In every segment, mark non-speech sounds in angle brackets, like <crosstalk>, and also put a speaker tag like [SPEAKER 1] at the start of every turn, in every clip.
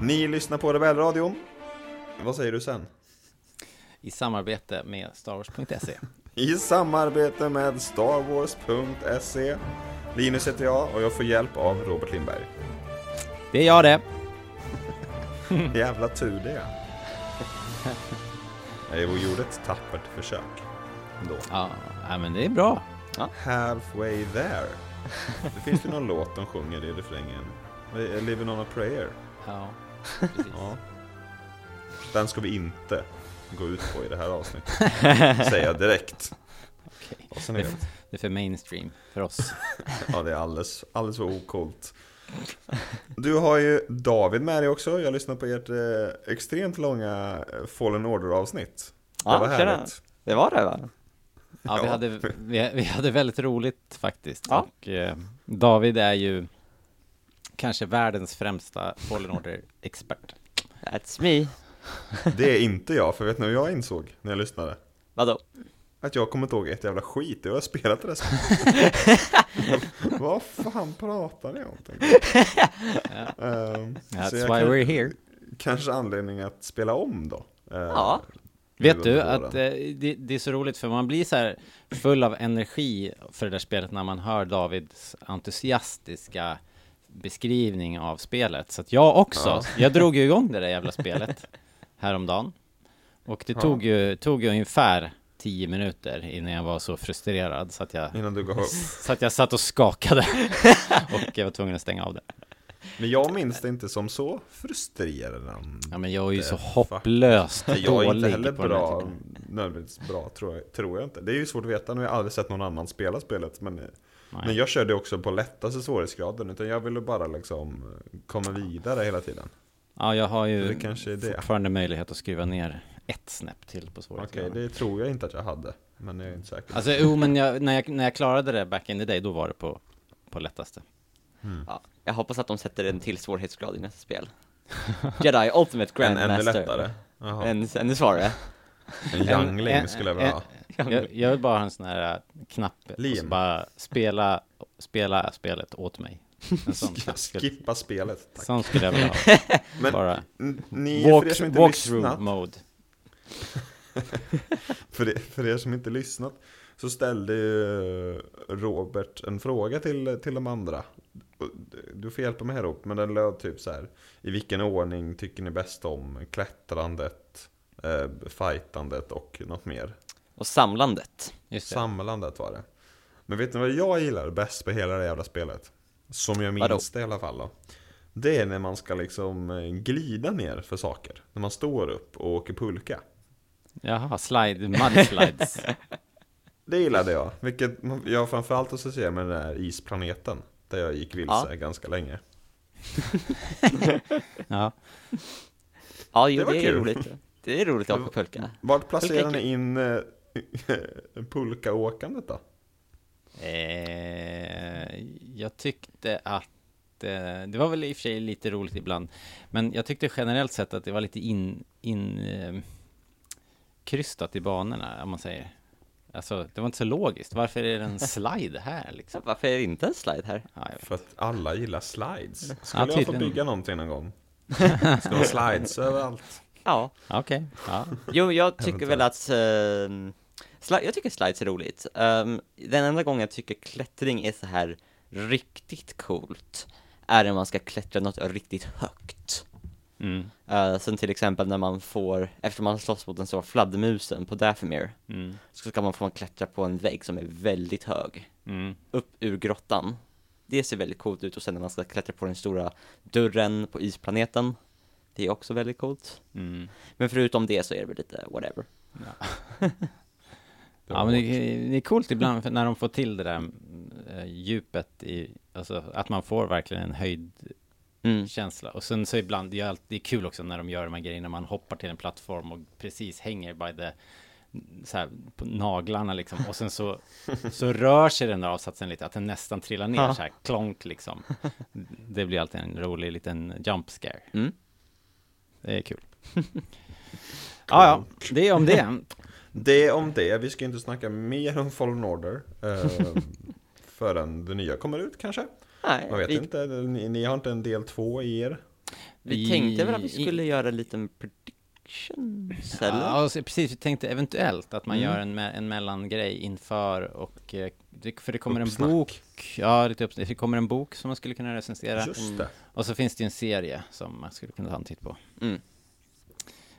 [SPEAKER 1] Ni lyssnar på Rebellradion. Vad säger du sen?
[SPEAKER 2] I samarbete med starwars.se.
[SPEAKER 1] I samarbete med starwars.se Linus heter jag och jag får hjälp av Robert Lindberg.
[SPEAKER 2] <laughs> Det är jag det.
[SPEAKER 1] Jävla tur det. <laughs> Jag gjorde ett tappert försök. Ändå.
[SPEAKER 2] Ja, nej, men det är bra.
[SPEAKER 1] Halfway there. Det finns ju någon låt de sjunger i refrängen. Eh, Living on a prayer.
[SPEAKER 2] Ja, precis.
[SPEAKER 1] Ja. Den ska vi inte gå ut på i det här avsnittet. Säger jag direkt.
[SPEAKER 2] <laughs> Okej.
[SPEAKER 1] Och sen är det,
[SPEAKER 2] Det är för mainstream för oss.
[SPEAKER 1] ja, det är alldeles, alldeles för ocoolt. Du har ju David med dig också. Jag lyssnade på ert eh, extremt långa eh, Fallen Order-avsnitt. Det
[SPEAKER 3] Ja,
[SPEAKER 1] var
[SPEAKER 3] tjena.
[SPEAKER 1] härligt.
[SPEAKER 3] Det var det va?
[SPEAKER 2] Ja, vi
[SPEAKER 1] Ja.
[SPEAKER 2] hade, vi, vi hade väldigt roligt faktiskt.
[SPEAKER 3] Ja.
[SPEAKER 2] Och eh, David är ju kanske världens främsta Fallen Order-expert.
[SPEAKER 3] That's me.
[SPEAKER 1] Det är inte jag, för vet ni vad jag insåg när jag lyssnade?
[SPEAKER 3] Vadå?
[SPEAKER 1] Att jag kommer inte ihåg ett jävla skit, jag har spelat det där spelet. Vad fan pratar ni om? tänkte jag. Ehm, så
[SPEAKER 2] That's
[SPEAKER 1] jag
[SPEAKER 2] why
[SPEAKER 1] kan-
[SPEAKER 2] we're here.
[SPEAKER 1] Kanske anledning att spela om då? Eh,
[SPEAKER 3] Ja.
[SPEAKER 2] Vet
[SPEAKER 1] nu
[SPEAKER 2] du
[SPEAKER 1] under
[SPEAKER 2] att
[SPEAKER 1] våren.
[SPEAKER 2] eh, det, det är så roligt för man blir så här full av energi för det där spelet när man hör Davids entusiastiska beskrivning av spelet. Så att jag också,
[SPEAKER 1] Ja.
[SPEAKER 2] jag drog ju igång det där
[SPEAKER 1] <laughs>
[SPEAKER 2] jävla spelet häromdagen. Och det
[SPEAKER 1] Ja.
[SPEAKER 2] tog ju, tog ju ungefär 10 minuter innan jag var så frustrerad så att jag,
[SPEAKER 1] Innan du gav upp.
[SPEAKER 2] så att jag satt och skakade <laughs> och jag var tvungen att stänga av det.
[SPEAKER 1] Men jag minns det inte som så frustrerande.
[SPEAKER 2] Ja, men jag är ju så
[SPEAKER 1] Det-
[SPEAKER 2] hopplöst
[SPEAKER 1] Nej, Jag är inte
[SPEAKER 2] dålig
[SPEAKER 1] heller
[SPEAKER 2] på den här
[SPEAKER 1] bra,
[SPEAKER 2] typen.
[SPEAKER 1] nödvändigtvis bra tror jag, tror jag inte. Det är ju svårt att veta, nu har jag aldrig sett någon annan spela spelet. Men, eh, men jag körde också på lättaste svårighetsgraden, utan jag ville bara liksom komma vidare hela tiden.
[SPEAKER 2] Ja, jag har ju
[SPEAKER 1] Så det kanske är det.
[SPEAKER 2] fortfarande möjlighet att skruva ner ett snäpp till på
[SPEAKER 1] Okej,
[SPEAKER 2] svårighetsgraden.
[SPEAKER 1] det tror jag inte att jag hade, men jag är inte säker.
[SPEAKER 2] Alltså, jo, men jag, när, jag, när jag klarade det back in the day, då var det på, på lättaste.
[SPEAKER 1] Mm.
[SPEAKER 3] Ja, jag hoppas att de sätter en till svårighetsgrad i nästa spel. <laughs> Jedi Ultimate
[SPEAKER 1] en ännu
[SPEAKER 3] Grandmaster.
[SPEAKER 1] lättare. Jaha. En,
[SPEAKER 3] En ännu svårare.
[SPEAKER 1] jangling
[SPEAKER 2] en-
[SPEAKER 1] skulle jag vilja
[SPEAKER 2] en-
[SPEAKER 1] ha.
[SPEAKER 2] Jag, jag vill bara ha en sån här äh, knapp, och så
[SPEAKER 1] Lim.
[SPEAKER 2] bara spela, spela spelet åt mig.
[SPEAKER 1] <laughs>
[SPEAKER 2] En sån knapp. skulle-
[SPEAKER 1] Skippa spelet. Tack.
[SPEAKER 2] Sån skulle jag vilja ha.
[SPEAKER 1] <laughs> Men
[SPEAKER 2] Bara
[SPEAKER 1] n- ni, för er
[SPEAKER 2] walk,
[SPEAKER 1] som inte lyssnat,
[SPEAKER 2] walkthrough mode.
[SPEAKER 1] För er, för er som inte lyssnat så ställde ju eh, Robert en fråga till, till de andra. Och Du får hjälpa mig här upp, men den löd typ så här. I vilken ordning tycker ni bäst om klättrandet, eh, fightandet och något mer?
[SPEAKER 3] Och samlandet.
[SPEAKER 2] Just det.
[SPEAKER 1] Samlandet var det. Men vet ni vad jag gillar bäst med hela det jävla spelet? Som jag minns
[SPEAKER 3] Vadå?
[SPEAKER 1] det i alla fall då. Det är när man ska liksom eh, glida ner för saker. När man står upp och åker pulka.
[SPEAKER 2] Jaha, slide, mud slides.
[SPEAKER 1] <laughs> Det gillade jag, vilket man- jag framförallt associerar med den där isplaneten Där jag gick vilse ganska länge
[SPEAKER 2] Ja.
[SPEAKER 3] Ja, jo,
[SPEAKER 1] Det
[SPEAKER 3] det,
[SPEAKER 1] var
[SPEAKER 3] är
[SPEAKER 1] kul.
[SPEAKER 3] roligt. Det är roligt att åka pulka.
[SPEAKER 1] Vart placerar
[SPEAKER 3] Pulka
[SPEAKER 1] ni in eh, <laughs> pulkaåkandet då?
[SPEAKER 2] Eh, jag tyckte att eh, det var väl i och för sig lite roligt ibland, men jag tyckte generellt sett att det var lite in, in eh, krystat i banorna, om man säger. Alltså, det var inte så logiskt. Varför är
[SPEAKER 1] <laughs>
[SPEAKER 2] det en slide här
[SPEAKER 3] Så
[SPEAKER 2] liksom?
[SPEAKER 3] varför är det inte en slide här?
[SPEAKER 2] Ja, jag vet.
[SPEAKER 1] För att alla gillar slides
[SPEAKER 2] Ja,
[SPEAKER 1] Skulle jag få
[SPEAKER 2] tydligen.
[SPEAKER 1] bygga någonting någon
[SPEAKER 2] <laughs>
[SPEAKER 1] gång? Det Ska vara slides överallt
[SPEAKER 3] Ja.
[SPEAKER 2] Ja, Okej, ja.
[SPEAKER 3] Jo, jag tycker väl
[SPEAKER 1] Eventuellt.
[SPEAKER 3] att... ehm, sli- jag tycker slides är roligt. Ehm, den enda gången jag tycker klättring är så här riktigt coolt är när man ska klättra något riktigt högt.
[SPEAKER 2] Mm.
[SPEAKER 3] Eh, sen till exempel när man får, efter man slåss mot den stora fladdermusen på Dathomir,
[SPEAKER 2] Mm.
[SPEAKER 3] så ska man få klättra på en vägg som är väldigt hög,
[SPEAKER 2] Mm.
[SPEAKER 3] upp ur grottan. Det ser väldigt coolt ut och sen när man ska klättra på den stora dörren på isplaneten, det är också väldigt coolt.
[SPEAKER 2] Mm.
[SPEAKER 3] Men förutom det så är det väl lite whatever.
[SPEAKER 1] Det var
[SPEAKER 2] Ja, men
[SPEAKER 1] hårt.
[SPEAKER 2] det, det är coolt ibland för när de får till det där eh, djupet i, alltså att man får verkligen en höjdkänsla.
[SPEAKER 3] Mm.
[SPEAKER 2] Och sen så ibland, det är, alltid, det är kul också när de gör de här grejerna, man hoppar till en plattform och precis hänger by the, så här, på naglarna liksom. Och sen så, så rör sig den där avsatsen lite, att den nästan trillar ner
[SPEAKER 3] Ja.
[SPEAKER 2] så här, klonk liksom. Det blir alltid en rolig liten jump scare.
[SPEAKER 3] Mm.
[SPEAKER 2] Det är kul. ja, ja, det är om det.
[SPEAKER 1] Det om det, vi ska inte snacka mer om Fallen Order
[SPEAKER 3] <laughs>
[SPEAKER 1] eh, Förrän det nya kommer ut kanske? Man
[SPEAKER 3] Nej,
[SPEAKER 1] vet
[SPEAKER 3] vi,
[SPEAKER 1] inte, ni, ni har inte en del två i er?
[SPEAKER 3] vi tänkte väl att vi
[SPEAKER 2] I-
[SPEAKER 3] skulle göra en liten prediction,
[SPEAKER 2] Ja,
[SPEAKER 3] eller?
[SPEAKER 2] alltså, precis. Vi tänkte eventuellt att man
[SPEAKER 3] Mm.
[SPEAKER 2] gör en, me- en mellangrej inför och... eh, det- För det kommer
[SPEAKER 1] Uppsnack.
[SPEAKER 2] en bok. Ja, lite uppsnack. Det kommer en bok som man skulle kunna recensera.
[SPEAKER 1] Just det.
[SPEAKER 2] Och så finns det ju en serie som man skulle kunna ta en titt på.
[SPEAKER 3] Mm.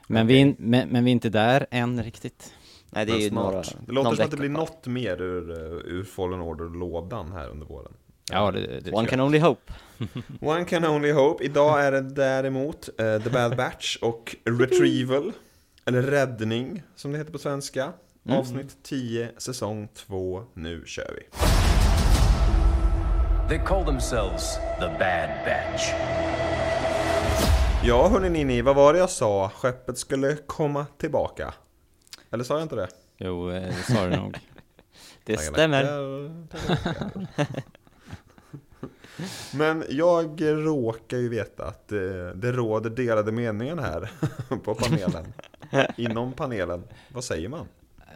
[SPEAKER 2] Men, vi, är in- men, men vi är inte där än riktigt.
[SPEAKER 3] Nej, det är
[SPEAKER 1] Men
[SPEAKER 3] ju några,
[SPEAKER 1] snart. Det låter
[SPEAKER 3] någon
[SPEAKER 1] som att
[SPEAKER 3] vecka
[SPEAKER 1] det blir
[SPEAKER 3] kvar.
[SPEAKER 1] något mer ur, eh, ur Fallen Order-lådan här under våren.
[SPEAKER 2] Ja, det, det tror
[SPEAKER 3] One
[SPEAKER 2] jag.
[SPEAKER 3] can only hope.
[SPEAKER 1] One can only hope. Idag är det däremot eh, The Bad Batch och Retrieval. Eller Räddning, som det heter på svenska. Avsnitt 10, säsong 2. Nu kör vi.
[SPEAKER 4] They call themselves the Bad Batch.
[SPEAKER 1] Ja, hörni ni, ni, vad var det jag sa? Skeppet skulle komma tillbaka. Eller sa jag inte det?
[SPEAKER 2] Jo, eh, det sa du nog.
[SPEAKER 3] Det
[SPEAKER 1] Tagga
[SPEAKER 3] stämmer.
[SPEAKER 1] läckar, tagga
[SPEAKER 3] <laughs>
[SPEAKER 1] läckar. Men jag råkar ju veta att eh, det råder delade meningar här <laughs> på panelen. Inom panelen. Vad säger man? I,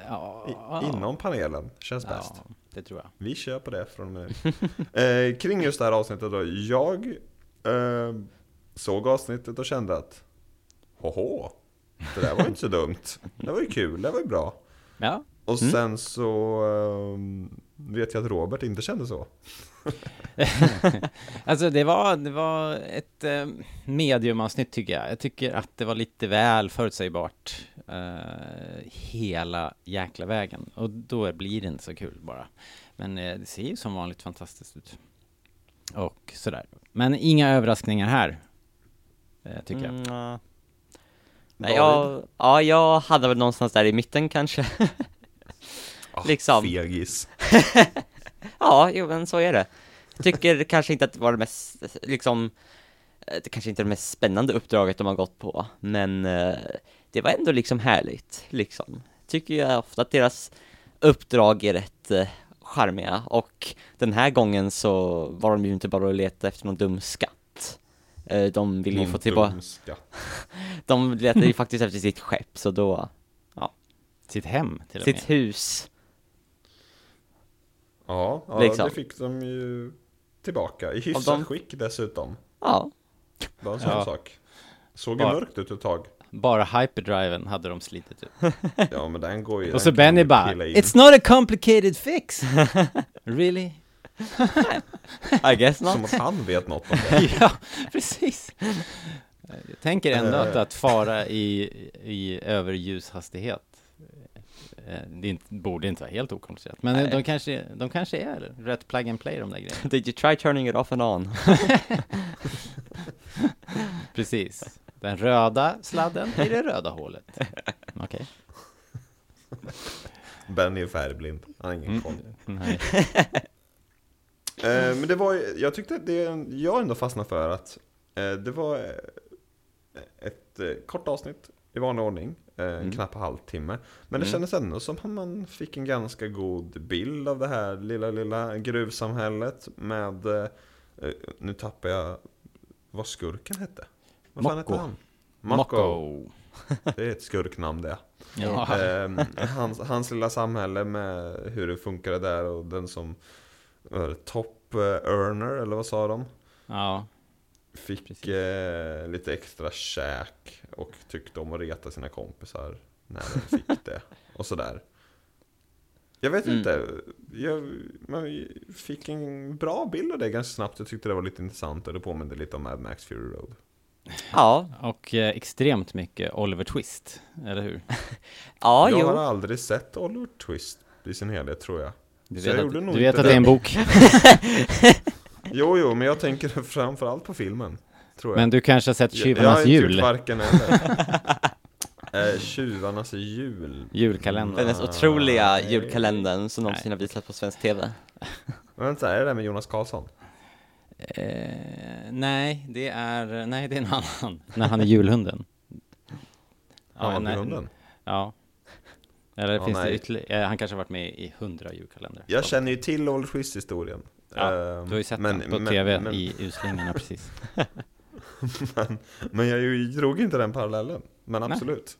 [SPEAKER 2] Ja,
[SPEAKER 1] Inom panelen känns bäst.
[SPEAKER 2] ja, det tror jag.
[SPEAKER 1] Vi kör på det från och med nu. eh, Kring just det här avsnittet då. Jag eh, såg avsnittet och kände att Hoho, det där var ju inte så dumt. Det var ju kul, det var ju bra.
[SPEAKER 2] Ja,
[SPEAKER 1] Och sen så ehm, vet jag att Robert inte kände så.
[SPEAKER 2] <laughs> Alltså det var, det var ett eh, mediumavsnitt tycker jag. Jag tycker att det var lite väl förutsägbart eh, hela jäkla vägen. Och då blir det inte så kul bara. Men eh, det ser ju som vanligt fantastiskt ut. Och sådär. Men inga överraskningar här. Eh, tycker jag.
[SPEAKER 3] Mm, ja. Nej, jag, ja, jag hade väl någonstans där i mitten kanske. <laughs>
[SPEAKER 1] Ah,
[SPEAKER 3] liksom.
[SPEAKER 1] Fegis.
[SPEAKER 3] Ja, jo men så är det. Jag tycker <laughs> kanske inte att det var det mest, liksom, eh, det kanske inte är det mest spännande uppdraget de har gått på, men eh, det var ändå liksom härligt, liksom. Tycker jag ofta att deras uppdrag är rätt eh, charmiga, och den här gången så var de ju inte bara och letade efter någon dum skatt. Eh, De ville ju få tillbaka, de letade ju faktiskt efter sitt skepp, så då,
[SPEAKER 2] Sitt hem till och med.
[SPEAKER 3] sitt hus.
[SPEAKER 1] Ja, ja
[SPEAKER 3] Liksom.
[SPEAKER 1] det fick de ju tillbaka. I hyfsat
[SPEAKER 3] de-
[SPEAKER 1] skick dessutom.
[SPEAKER 3] Ja,
[SPEAKER 1] Det var en sån
[SPEAKER 2] Ja.
[SPEAKER 1] sak. Såg ju
[SPEAKER 2] Bara-
[SPEAKER 1] mörkt ut ett tag.
[SPEAKER 2] Bara hyperdriven hade de slitit ut.
[SPEAKER 1] Ja men den går ju... den
[SPEAKER 2] <laughs> Och så
[SPEAKER 1] kan
[SPEAKER 2] Benny
[SPEAKER 1] ju
[SPEAKER 2] bara,
[SPEAKER 1] pilla in.
[SPEAKER 2] It's not a complicated
[SPEAKER 3] <laughs>
[SPEAKER 2] fix! really?
[SPEAKER 3] I guess not.
[SPEAKER 1] Som att han vet något om det.
[SPEAKER 2] <laughs> ja, precis. Jag tänker ändå att,
[SPEAKER 1] Eh.
[SPEAKER 2] att fara i, i överljushastighet, eh, det är inte, borde inte vara helt okomplicerat. Men eh, de
[SPEAKER 3] Nej.
[SPEAKER 2] kanske, de kanske är rätt plug and play de där <laughs> grejerna.
[SPEAKER 3] Did you try turning it off and on?
[SPEAKER 2] Precis. Den röda sladden i det röda <laughs> hålet. Okej.
[SPEAKER 1] Benny är färgblind. Han har ingen koll.
[SPEAKER 2] Nej.
[SPEAKER 1] Eh, men det var ju- jag tyckte att det, jag ändå fastnade för att eh, det var eh, ett eh, kort avsnitt i vanlig ordning, eh, en knapp halvtimme. Men det kändes ändå som att man fick en ganska god bild av det här lilla, lilla gruvsamhället med, eh, eh, nu tappar jag vad skurken hette. Vad fan
[SPEAKER 2] Mocko.
[SPEAKER 1] hette han? Mocko.
[SPEAKER 2] Mocko.
[SPEAKER 1] Det är ett skurknamn det.
[SPEAKER 2] Ja.
[SPEAKER 1] Ehm, hans, hans lilla samhälle med hur det funkade där och den som eh, top eh, earner, eller vad sa de?
[SPEAKER 2] ja.
[SPEAKER 1] Fick
[SPEAKER 2] Precis.
[SPEAKER 1] eh, lite extra käk och tyckte om att reta sina kompisar när de
[SPEAKER 2] <laughs>
[SPEAKER 1] fick det. Och sådär. Jag vet
[SPEAKER 2] Mm.
[SPEAKER 1] inte, jag, man fick en bra bild av det ganska snabbt. Jag tyckte det var lite intressant och det påminde lite om Mad Max Fury Road.
[SPEAKER 3] Ja,
[SPEAKER 2] Och eh, extremt mycket Oliver Twist, eller hur?
[SPEAKER 3] ja,
[SPEAKER 1] jag har
[SPEAKER 3] jo.
[SPEAKER 1] aldrig sett Oliver Twist i sin helhet tror jag.
[SPEAKER 2] Du
[SPEAKER 1] Så jag
[SPEAKER 2] vet,
[SPEAKER 1] gjorde
[SPEAKER 2] att,
[SPEAKER 1] nog
[SPEAKER 2] du vet
[SPEAKER 1] inte
[SPEAKER 2] att det är en
[SPEAKER 1] det. <laughs>
[SPEAKER 2] bok.
[SPEAKER 1] Jo, jo, men jag tänker <laughs> framförallt på filmen. Tror jag.
[SPEAKER 2] Men du kanske har sett
[SPEAKER 1] Jag- jag har
[SPEAKER 2] Tjuvarnas
[SPEAKER 1] inte gjort
[SPEAKER 2] jul?
[SPEAKER 1] varken
[SPEAKER 2] <laughs>
[SPEAKER 1] eller. eh, tjuvarnas jul.
[SPEAKER 2] Julkalender.
[SPEAKER 3] Den mest otroliga
[SPEAKER 1] Nej.
[SPEAKER 3] julkalendern som någonsin har visats på svensk TV.
[SPEAKER 1] Men Vänta, är det där med Jonas Karlsson?
[SPEAKER 2] Eh, nej, det är, nej, det är en <laughs> annan. När han är julhunden.
[SPEAKER 1] Ja,
[SPEAKER 2] nej.
[SPEAKER 1] hunden.
[SPEAKER 2] Ja. Eller
[SPEAKER 1] Ja,
[SPEAKER 2] finns det
[SPEAKER 1] nej.
[SPEAKER 2] ytterligare? Han kanske har varit med i hundra julkalendrar.
[SPEAKER 1] Jag känner ju till Old Schwist-historien.
[SPEAKER 2] Ja,
[SPEAKER 1] Eh,
[SPEAKER 2] Du har ju sett
[SPEAKER 1] men-
[SPEAKER 2] den på
[SPEAKER 1] men-
[SPEAKER 2] tv
[SPEAKER 1] men-
[SPEAKER 2] i uslingarna precis.
[SPEAKER 1] Men jag ju- drog inte den parallellen. Men
[SPEAKER 2] Nej.
[SPEAKER 1] absolut.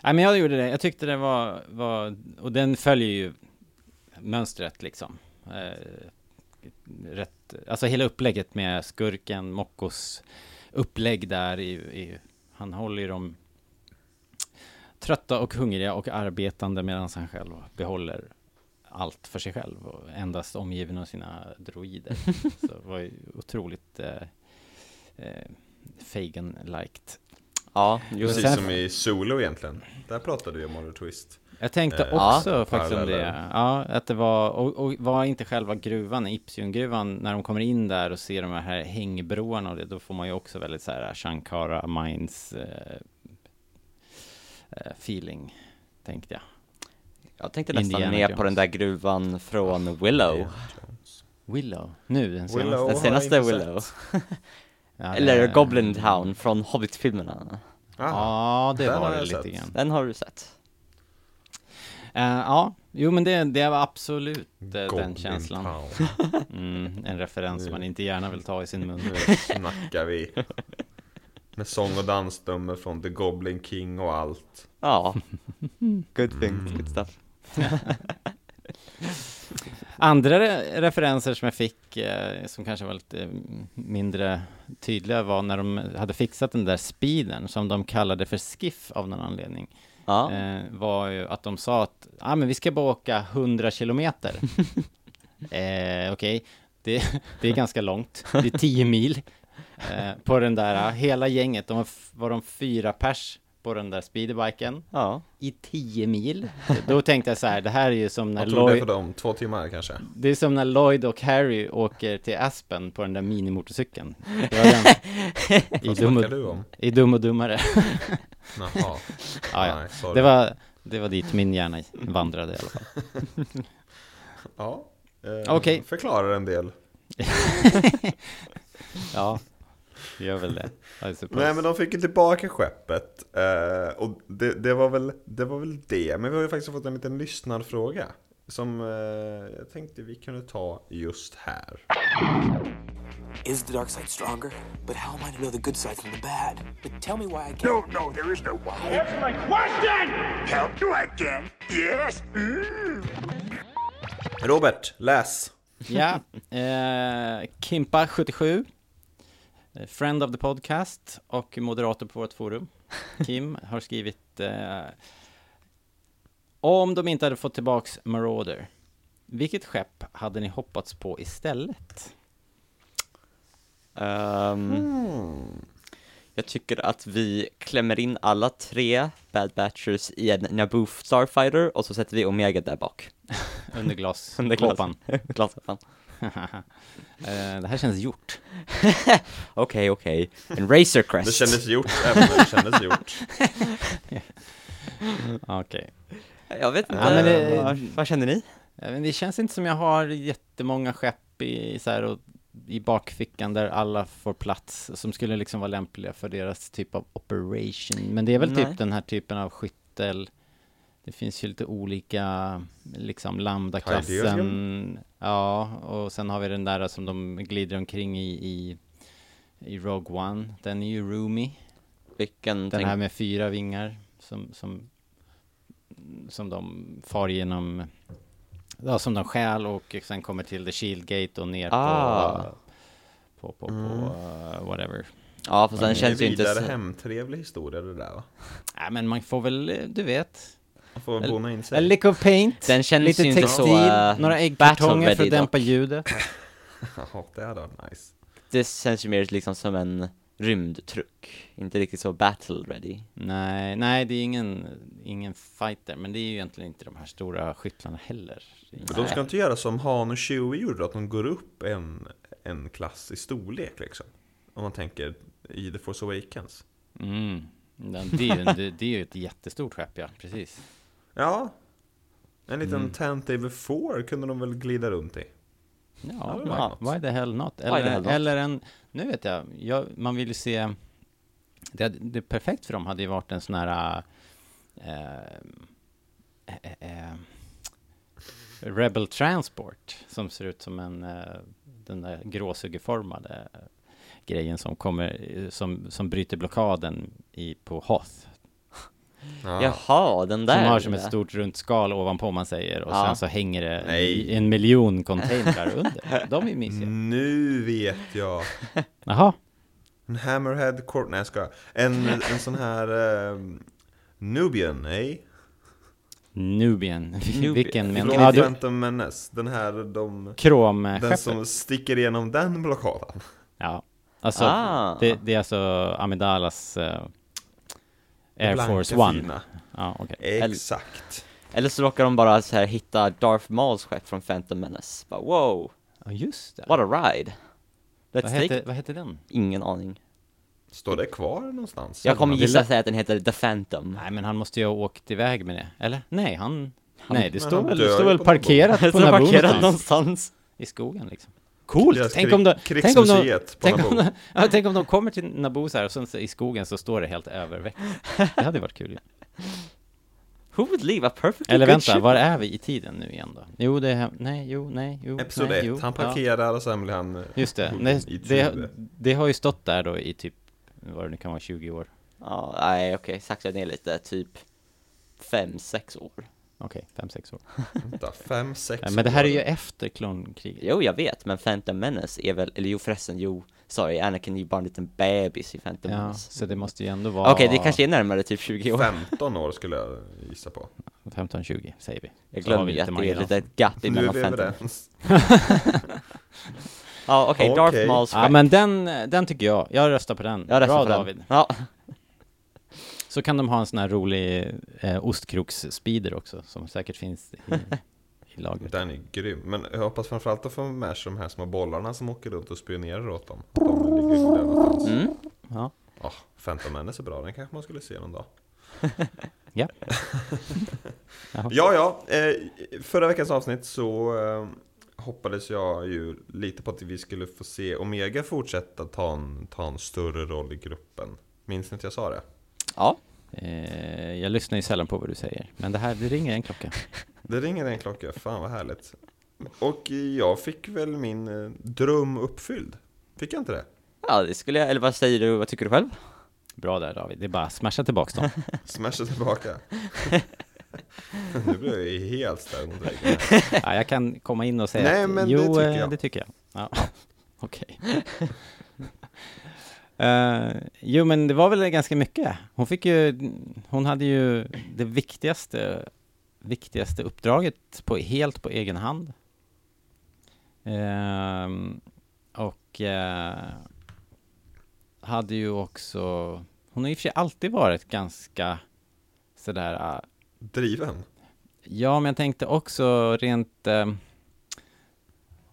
[SPEAKER 2] Nej, men jag gjorde det. Jag tyckte det var, var och den följer ju mönstret liksom. Eh, rätt, alltså hela upplägget med skurken, Mockos upplägg där. I, i, han håller ju dem trötta och hungriga och arbetande medan han själv behåller allt för sig själv och endast omgiven av sina droider. Så det var ju otroligt eh, eh, Fagin-liked.
[SPEAKER 3] Ja, jo.
[SPEAKER 1] Precis
[SPEAKER 2] sen-
[SPEAKER 1] som i Solo egentligen. Där pratade vi om Oliver Twist.
[SPEAKER 2] Jag tänkte
[SPEAKER 1] Eh,
[SPEAKER 2] också
[SPEAKER 1] ja,
[SPEAKER 2] faktiskt om det.
[SPEAKER 1] paralleller.
[SPEAKER 2] Ja, att det var, och, och var inte själva gruvan, Ipsiongruvan, när de kommer in där och ser de här hängbroarna och det, då får man ju också väldigt så här Shankara Mines eh, eh, feeling, tänkte jag.
[SPEAKER 3] Jag tänkte nästan
[SPEAKER 2] Indiana
[SPEAKER 3] mer på
[SPEAKER 2] Jones.
[SPEAKER 3] den där gruvan från Willow.
[SPEAKER 2] Willow, nu den senaste.
[SPEAKER 1] Willow.
[SPEAKER 3] Den
[SPEAKER 1] har
[SPEAKER 3] senaste
[SPEAKER 1] jag inte
[SPEAKER 3] Willow.
[SPEAKER 2] Ja,
[SPEAKER 3] Eller
[SPEAKER 2] det-
[SPEAKER 3] Goblin Town från Hobbit-filmerna.
[SPEAKER 1] Ah,
[SPEAKER 2] Ja, det
[SPEAKER 1] Den
[SPEAKER 2] var
[SPEAKER 1] har
[SPEAKER 2] det
[SPEAKER 1] jag
[SPEAKER 2] lite
[SPEAKER 1] sett.
[SPEAKER 2] grann.
[SPEAKER 3] Den har du sett.
[SPEAKER 2] Eh, ja, jo men det, det var absolut eh, den
[SPEAKER 1] Golden
[SPEAKER 2] känslan.
[SPEAKER 1] Town.
[SPEAKER 2] Mm, en referens man inte gärna vill ta i sin mun.
[SPEAKER 1] Nu snackar
[SPEAKER 2] <laughs>
[SPEAKER 1] vi. Med sång och dansnummer från The Goblin King och allt.
[SPEAKER 3] Ja. Good things, good stuff.
[SPEAKER 2] Andra re- referenser som jag fick, eh, som kanske var lite eh, mindre tydliga, var när de hade fixat den där speeden, som de kallade för skiff av någon anledning,
[SPEAKER 3] Ja.
[SPEAKER 2] eh, var ju att de sa att ah, men vi ska bara åka
[SPEAKER 1] <laughs>
[SPEAKER 2] 100 kilometer. eh, Okej, det, det är ganska långt, det är 10 mil eh, på den där, eh, hela gänget, de var, f- var de fyra pers på den där speederbiken
[SPEAKER 3] Ja.
[SPEAKER 2] i 10 mil. Då tänkte jag så här, det här är ju som när
[SPEAKER 1] Vad tog det
[SPEAKER 2] Lloyd...
[SPEAKER 1] för dem? Två timmar kanske?
[SPEAKER 2] Det är som när Lloyd och Harry åker till Aspen på den
[SPEAKER 1] <laughs>
[SPEAKER 2] där minimotorcykeln. Det var den. I,
[SPEAKER 1] Vad
[SPEAKER 2] dum
[SPEAKER 1] snackar
[SPEAKER 2] och,
[SPEAKER 1] du om?
[SPEAKER 2] I Dum
[SPEAKER 1] <laughs>
[SPEAKER 2] och Dummare.
[SPEAKER 1] Jaha.
[SPEAKER 2] <laughs> Ja, ja.
[SPEAKER 1] Nej, sorry.
[SPEAKER 2] Det, var, det var dit min hjärna vandrade i alla fall.
[SPEAKER 1] Ja. Eh,
[SPEAKER 2] Okej.
[SPEAKER 1] Förklarar en del.
[SPEAKER 2] Ja, det gör väl det. I suppose.
[SPEAKER 1] Nej men de fick ju tillbaka skeppet eh, och det, det, var väl, det var väl det. Men vi har ju faktiskt fått en liten lyssnarfråga som eh, jag tänkte vi kunde ta just här.
[SPEAKER 5] Is the dark side stronger? But how am I to know the good side from the bad? But tell me why I can't.
[SPEAKER 6] No, no, there is no why. Answer my question! Help you again? Yes? Mm.
[SPEAKER 1] Robert, läs!
[SPEAKER 2] Ja, eh, Kimpa77, eh, friend of the podcast och moderator på vårt forum. Kim har skrivit eh, Om de inte hade fått tillbaks Marauder, vilket skepp hade ni hoppats på istället?
[SPEAKER 3] Ehm,
[SPEAKER 1] Hmm.
[SPEAKER 3] Jag tycker att vi klämmer in alla tre Bad Batchers i en Naboo Starfighter och så sätter vi Omega där bak. <laughs>
[SPEAKER 2] <laughs> Under glas-
[SPEAKER 3] Under
[SPEAKER 2] kåpan.
[SPEAKER 3] <laughs> Glaskåpan.
[SPEAKER 2] eh, det här känns gjort.
[SPEAKER 3] Okej, okej. En Racer Crest.
[SPEAKER 1] Det kändes gjort, även om det kändes
[SPEAKER 2] <laughs>
[SPEAKER 1] gjort.
[SPEAKER 2] Okej.
[SPEAKER 3] Jag vet inte.
[SPEAKER 2] Ja, men det-
[SPEAKER 3] vad, vad känner ni?
[SPEAKER 2] Eh, Men det känns inte som jag har jättemånga skepp i, så här, och, i bakfickan där alla får plats som skulle liksom vara lämpliga för deras typ av operation. Men det är väl
[SPEAKER 3] Nej.
[SPEAKER 2] typ den här typen av skyttel. Det finns ju lite olika, liksom lambda-klassen. Ja, och sen har vi den där som de glider omkring i, i, i Rogue One. Den är ju roomy.
[SPEAKER 3] Vilken
[SPEAKER 2] Den
[SPEAKER 3] tänk-
[SPEAKER 2] här med fyra vingar som, som, som de far genom, ja, som de stjäl och sen kommer till the shield gate och ner
[SPEAKER 3] Ah.
[SPEAKER 2] på, på, på, på eh, whatever.
[SPEAKER 3] Ja, fast den
[SPEAKER 1] Det är
[SPEAKER 3] känns ju inte
[SPEAKER 1] vidare
[SPEAKER 3] så...
[SPEAKER 1] hemtrevlig historia det där va?
[SPEAKER 2] Nej men man får väl, eh, du vet,
[SPEAKER 1] Man får väl bona in <laughs>
[SPEAKER 2] a
[SPEAKER 1] sig.
[SPEAKER 2] lick of paint,
[SPEAKER 3] Den känns
[SPEAKER 2] lite
[SPEAKER 3] ju inte
[SPEAKER 2] textil,
[SPEAKER 3] så, eh,
[SPEAKER 2] några
[SPEAKER 3] battle
[SPEAKER 2] äggkartonger
[SPEAKER 3] ready
[SPEAKER 2] för att dämpa
[SPEAKER 3] dock.
[SPEAKER 2] ljudet.
[SPEAKER 1] Jaha, det hade varit nice.
[SPEAKER 3] Det känns ju mer liksom som en rymdtruck. Inte riktigt så battle ready.
[SPEAKER 2] Nej, nej, det är ingen, ingen fighter, men det är ju egentligen inte de här stora skyttlarna heller.
[SPEAKER 1] Men de ska inte göra som Han och Chewie gjorde, att de går upp en, en klass i storlek liksom. Om man tänker i The Force Awakens.
[SPEAKER 2] Mm. Men Det, är ju, det, det är ju ett jättestort skepp, ja, precis.
[SPEAKER 1] Ja, en liten Tantive 4 kunde de väl glida runt i.
[SPEAKER 2] Ja,
[SPEAKER 1] det var
[SPEAKER 2] ja
[SPEAKER 1] något.
[SPEAKER 2] why the hell not?
[SPEAKER 3] the
[SPEAKER 2] Eller,
[SPEAKER 3] hell not?
[SPEAKER 2] eller en, nu vet jag, jag man vill ju se, det, hade- det perfekt för dem hade ju varit en sån här, eh, eh, eh, Rebel Transport, som ser ut som en, eh, den där gråsugeformade grejen som kommer, eh, som, som bryter blockaden i, på Hoth.
[SPEAKER 1] Ja.
[SPEAKER 3] Jaha, den där.
[SPEAKER 2] Som har som ett
[SPEAKER 3] ja.
[SPEAKER 2] stort runt skal ovanpå om man säger och
[SPEAKER 3] Ja.
[SPEAKER 2] sen så hänger det
[SPEAKER 1] Nej. Mm.
[SPEAKER 2] i en miljon containrar
[SPEAKER 3] <laughs>
[SPEAKER 2] under. De är mysiga.
[SPEAKER 1] Nu vet jag!
[SPEAKER 2] Jaha.
[SPEAKER 1] En Hammerhead Court... Nej jag skojar. En, en sån här... Eh, Nubian, nej?
[SPEAKER 2] Nubian. <laughs>
[SPEAKER 3] Nubian.
[SPEAKER 2] Vilken menar
[SPEAKER 1] Från
[SPEAKER 2] ja, du?
[SPEAKER 1] Phantom Menace. Den här, de... Den
[SPEAKER 2] Kromskeppet.
[SPEAKER 1] som sticker igenom den blockaden.
[SPEAKER 2] Ja. Alltså,
[SPEAKER 3] Ah.
[SPEAKER 2] det, det är alltså Amidalas eh, Air
[SPEAKER 1] Blanka,
[SPEAKER 2] Force One.
[SPEAKER 1] fina. Eh,
[SPEAKER 2] Ja, okej.
[SPEAKER 1] Exakt.
[SPEAKER 3] Eller så råkar de bara så här hitta Darth Mauls skepp från Phantom Menace. Bara, wow,
[SPEAKER 2] Ja, just det.
[SPEAKER 3] what a ride.
[SPEAKER 2] Vad
[SPEAKER 3] Let's take
[SPEAKER 2] hette,
[SPEAKER 3] it.
[SPEAKER 2] vad hette den?
[SPEAKER 3] Ingen aning.
[SPEAKER 1] Står det kvar någonstans?
[SPEAKER 3] Jag kommer
[SPEAKER 1] Eller?
[SPEAKER 3] gissa säga att den heter The Phantom. <laughs>
[SPEAKER 2] Nej, men han måste ju ha åkt iväg med det. Eller? Nej, han... nej, det
[SPEAKER 1] men
[SPEAKER 2] står
[SPEAKER 1] han
[SPEAKER 2] väl,
[SPEAKER 1] dör
[SPEAKER 2] det
[SPEAKER 1] ju
[SPEAKER 2] står väl
[SPEAKER 1] på någon bok.
[SPEAKER 2] parkerat på
[SPEAKER 3] Så
[SPEAKER 2] den
[SPEAKER 1] <laughs>
[SPEAKER 2] här
[SPEAKER 3] parkerad
[SPEAKER 2] bron
[SPEAKER 3] någonstans.
[SPEAKER 2] I skogen liksom. Coolt!
[SPEAKER 1] Deras
[SPEAKER 2] Tänk
[SPEAKER 1] krig-
[SPEAKER 2] om, de, tänk, om de,
[SPEAKER 1] krigsmuseet på
[SPEAKER 2] tänk, om
[SPEAKER 1] Naboo.
[SPEAKER 2] de, <laughs> ja, tänk om de kommer till Naboo så här och sen så, i skogen så står det helt överväxt. Det hade varit kul ju.
[SPEAKER 3] Who would leave a perfectly
[SPEAKER 2] Eller
[SPEAKER 3] good
[SPEAKER 2] vänta,
[SPEAKER 3] ship?
[SPEAKER 2] var är vi i tiden nu igen då? Jo, det är... Nej, jo, nej, jo,
[SPEAKER 1] Episod
[SPEAKER 2] nej, jo,
[SPEAKER 1] 1, han
[SPEAKER 2] Ja,
[SPEAKER 1] parkerar och sen blir han... eh,
[SPEAKER 2] just det.
[SPEAKER 1] huggen
[SPEAKER 2] Nej,
[SPEAKER 1] i
[SPEAKER 2] det,
[SPEAKER 1] huvudet.
[SPEAKER 2] det har ju stått där då i typ, vad det nu kan vara, 20 år.
[SPEAKER 3] Ja, nej okej, sakta ner lite, typ fem sex år.
[SPEAKER 2] Okej, fem sex år.
[SPEAKER 1] Vänta, fem, sex
[SPEAKER 2] Men det här är ju
[SPEAKER 1] år.
[SPEAKER 2] efter klonkriget.
[SPEAKER 3] Jo, jag vet, men Phantom Menace är väl, eller jo förresten, jo, sorry, Anakin är ju bara en liten bebis i Phantom
[SPEAKER 2] Ja,
[SPEAKER 3] Menace.
[SPEAKER 2] så det måste ju ändå vara...
[SPEAKER 3] Okej, det kanske är närmare typ 20 år.
[SPEAKER 1] 15 år skulle jag gissa på.
[SPEAKER 2] 15-20, säger vi.
[SPEAKER 3] Jag
[SPEAKER 2] Så har
[SPEAKER 3] glömde
[SPEAKER 2] vi
[SPEAKER 3] ju att det är
[SPEAKER 2] marginal.
[SPEAKER 3] lite ett gap
[SPEAKER 1] Nu är
[SPEAKER 3] emellan
[SPEAKER 1] vi
[SPEAKER 3] Phantom.
[SPEAKER 1] överens.
[SPEAKER 3] Ja, okej,
[SPEAKER 1] Okej.
[SPEAKER 3] Darth Mauls
[SPEAKER 2] Ja,
[SPEAKER 3] skepp.
[SPEAKER 2] men den, den tycker jag. Jag röstar på den.
[SPEAKER 3] Jag röstar
[SPEAKER 2] Bra
[SPEAKER 3] på den.
[SPEAKER 2] David.
[SPEAKER 3] Ja,
[SPEAKER 2] Så kan de ha en sån här rolig eh, ostkroks-speeder också, som säkert finns
[SPEAKER 3] <laughs>
[SPEAKER 2] i, i lagret.
[SPEAKER 1] Den är grym. Men jag hoppas framförallt att få med sig de här små bollarna som åker runt och spionerar åt dem. De ligger ju där någonstans.
[SPEAKER 3] mm.
[SPEAKER 2] Ja.
[SPEAKER 1] Ja, Phantom Menace är bra, den kanske man skulle se någon dag.
[SPEAKER 2] Ja.
[SPEAKER 1] Ja, ja. Eh, förra veckans avsnitt så eh, hoppades jag ju lite på att vi skulle få se Omega fortsätta ta en, ta en större roll i gruppen. Minns ni att jag sa det?
[SPEAKER 3] ja.
[SPEAKER 2] Eh, jag lyssnar ju sällan på vad du säger, men det här, det ringer en klocka.
[SPEAKER 1] Det ringer en klocka, fan vad härligt. Och jag fick väl min eh, dröm uppfylld. Fick jag inte det?
[SPEAKER 3] ja, det skulle jag, eller vad säger du, vad tycker du själv?
[SPEAKER 2] Bra där David, det är bara att smasha tillbaka dem.
[SPEAKER 1] Smasha tillbaka. nu blev jag ju helt ställd mot väggen.
[SPEAKER 2] Ja, jag kan komma in och säga
[SPEAKER 1] Nej,
[SPEAKER 2] att,
[SPEAKER 1] men det
[SPEAKER 2] jo,
[SPEAKER 1] tycker
[SPEAKER 2] eh,
[SPEAKER 1] jag.
[SPEAKER 2] det tycker jag. Ja. <laughs> Okej. Eh, jo, men det var väl ganska mycket. Hon fick ju, hon hade ju det viktigaste, viktigaste uppdraget på, helt på egen hand. Ehm, och eh, hade ju också, hon har i och för sig alltid varit ganska sådär eh,
[SPEAKER 1] Driven.
[SPEAKER 2] Ja, men jag tänkte också rent... Eh,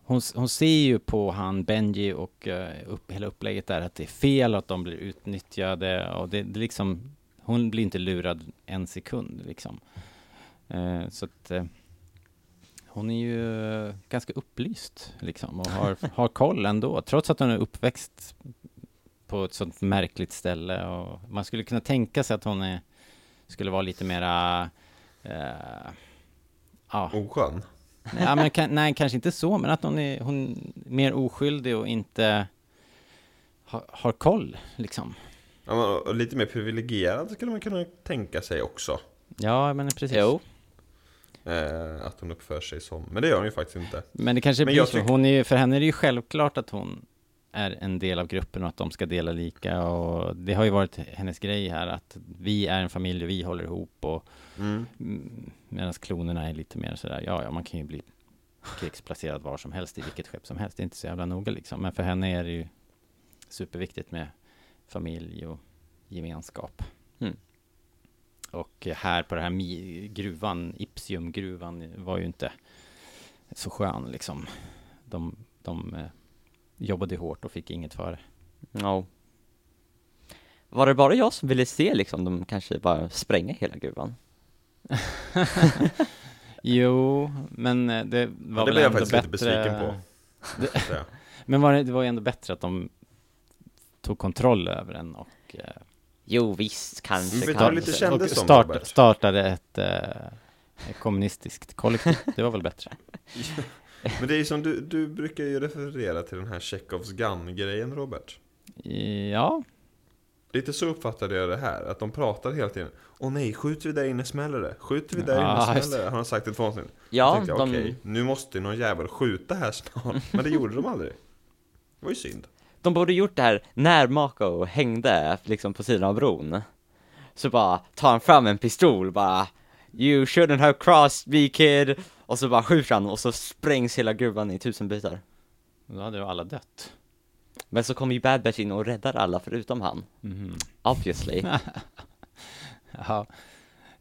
[SPEAKER 2] hon, hon ser ju på han Benji och eh, upp, hela upplägget där att det är fel och att de blir utnyttjade och det, det liksom... Hon blir inte lurad en sekund liksom. Eh, så att... Eh, hon är ju eh, ganska upplyst liksom och har, har koll ändå, trots att hon är uppväxt på ett sånt märkligt ställe och man skulle kunna tänka sig att hon är, skulle vara lite mera eh, ja,
[SPEAKER 1] Oskön.
[SPEAKER 2] <laughs> ja, men kan, nej, kanske inte så, men att hon är, hon är mer oskyldig och inte ha, har koll, liksom.
[SPEAKER 1] Ja, men, och lite mer privilegierad skulle man kunna tänka sig också.
[SPEAKER 2] Ja, men precis.
[SPEAKER 3] Jo.
[SPEAKER 1] Eh, att hon uppför sig som. Men det gör hon ju faktiskt inte.
[SPEAKER 2] Men det kanske
[SPEAKER 1] Men
[SPEAKER 2] blir
[SPEAKER 1] jag
[SPEAKER 2] så.
[SPEAKER 1] tyck-
[SPEAKER 2] Hon är ju, för henne är det ju självklart att hon är en del av gruppen och att de ska dela lika och det har ju varit hennes grej här att vi är en familj och vi håller ihop och mm. medan klonerna är lite mer sådär, ja, ja, man kan ju bli krigsplacerad var som helst i vilket skepp som helst, det är inte så jävla noga liksom, men för henne är det ju superviktigt med familj och gemenskap.
[SPEAKER 3] Mm.
[SPEAKER 2] Och här på den här mi- gruvan, Ipsiumgruvan, var ju inte så skön liksom. De, de eh, jobbade ju hårt och fick inget för det.
[SPEAKER 3] Ja. Var det bara jag som ville se liksom de kanske bara spränga hela gruvan?
[SPEAKER 2] Jo, men eh, det var
[SPEAKER 1] Ja, det
[SPEAKER 2] väl
[SPEAKER 1] blev jag
[SPEAKER 2] ändå
[SPEAKER 1] faktiskt
[SPEAKER 2] bättre...
[SPEAKER 1] lite besviken
[SPEAKER 2] <laughs>
[SPEAKER 1] på. Så ja.
[SPEAKER 2] Men var det, det var ju ändå bättre att de tog kontroll över den och, eh,
[SPEAKER 3] Jo visst, kanske,
[SPEAKER 1] Vi
[SPEAKER 3] kanske.
[SPEAKER 1] tar lite känsla.
[SPEAKER 2] och
[SPEAKER 1] Kändes som
[SPEAKER 2] start,
[SPEAKER 1] Robert.
[SPEAKER 2] startade ett eh, kommunistiskt kollektiv. Det var väl bättre?
[SPEAKER 1] Men det är ju som du, du brukar ju referera till den här Chekhovs gun-grejen Robert.
[SPEAKER 2] Ja,
[SPEAKER 1] Lite så uppfattade jag det här, att de pratar hela tiden. Åh nej, skjuter vi där inne smäller det. Skjuter vi där
[SPEAKER 2] Ja,
[SPEAKER 1] inne
[SPEAKER 2] just
[SPEAKER 1] smäller det. Har de sagt det två avsnitt?
[SPEAKER 3] Ja,
[SPEAKER 1] Då tänkte jag,
[SPEAKER 3] de-
[SPEAKER 1] okej, nu måste ju någon jävel skjuta här snart. Men det gjorde de aldrig. Det var ju synd.
[SPEAKER 3] De borde gjort det här när Mako hängde liksom på sidan av bron. Så bara tar han fram en pistol bara You shouldn't have crossed me kid! Och så bara skjuter han och så sprängs hela gruvan i tusen bitar.
[SPEAKER 2] då hade ju alla dött.
[SPEAKER 3] Men så kommer ju Bad Batch in och räddar alla förutom han. Obviously.
[SPEAKER 2] Ja.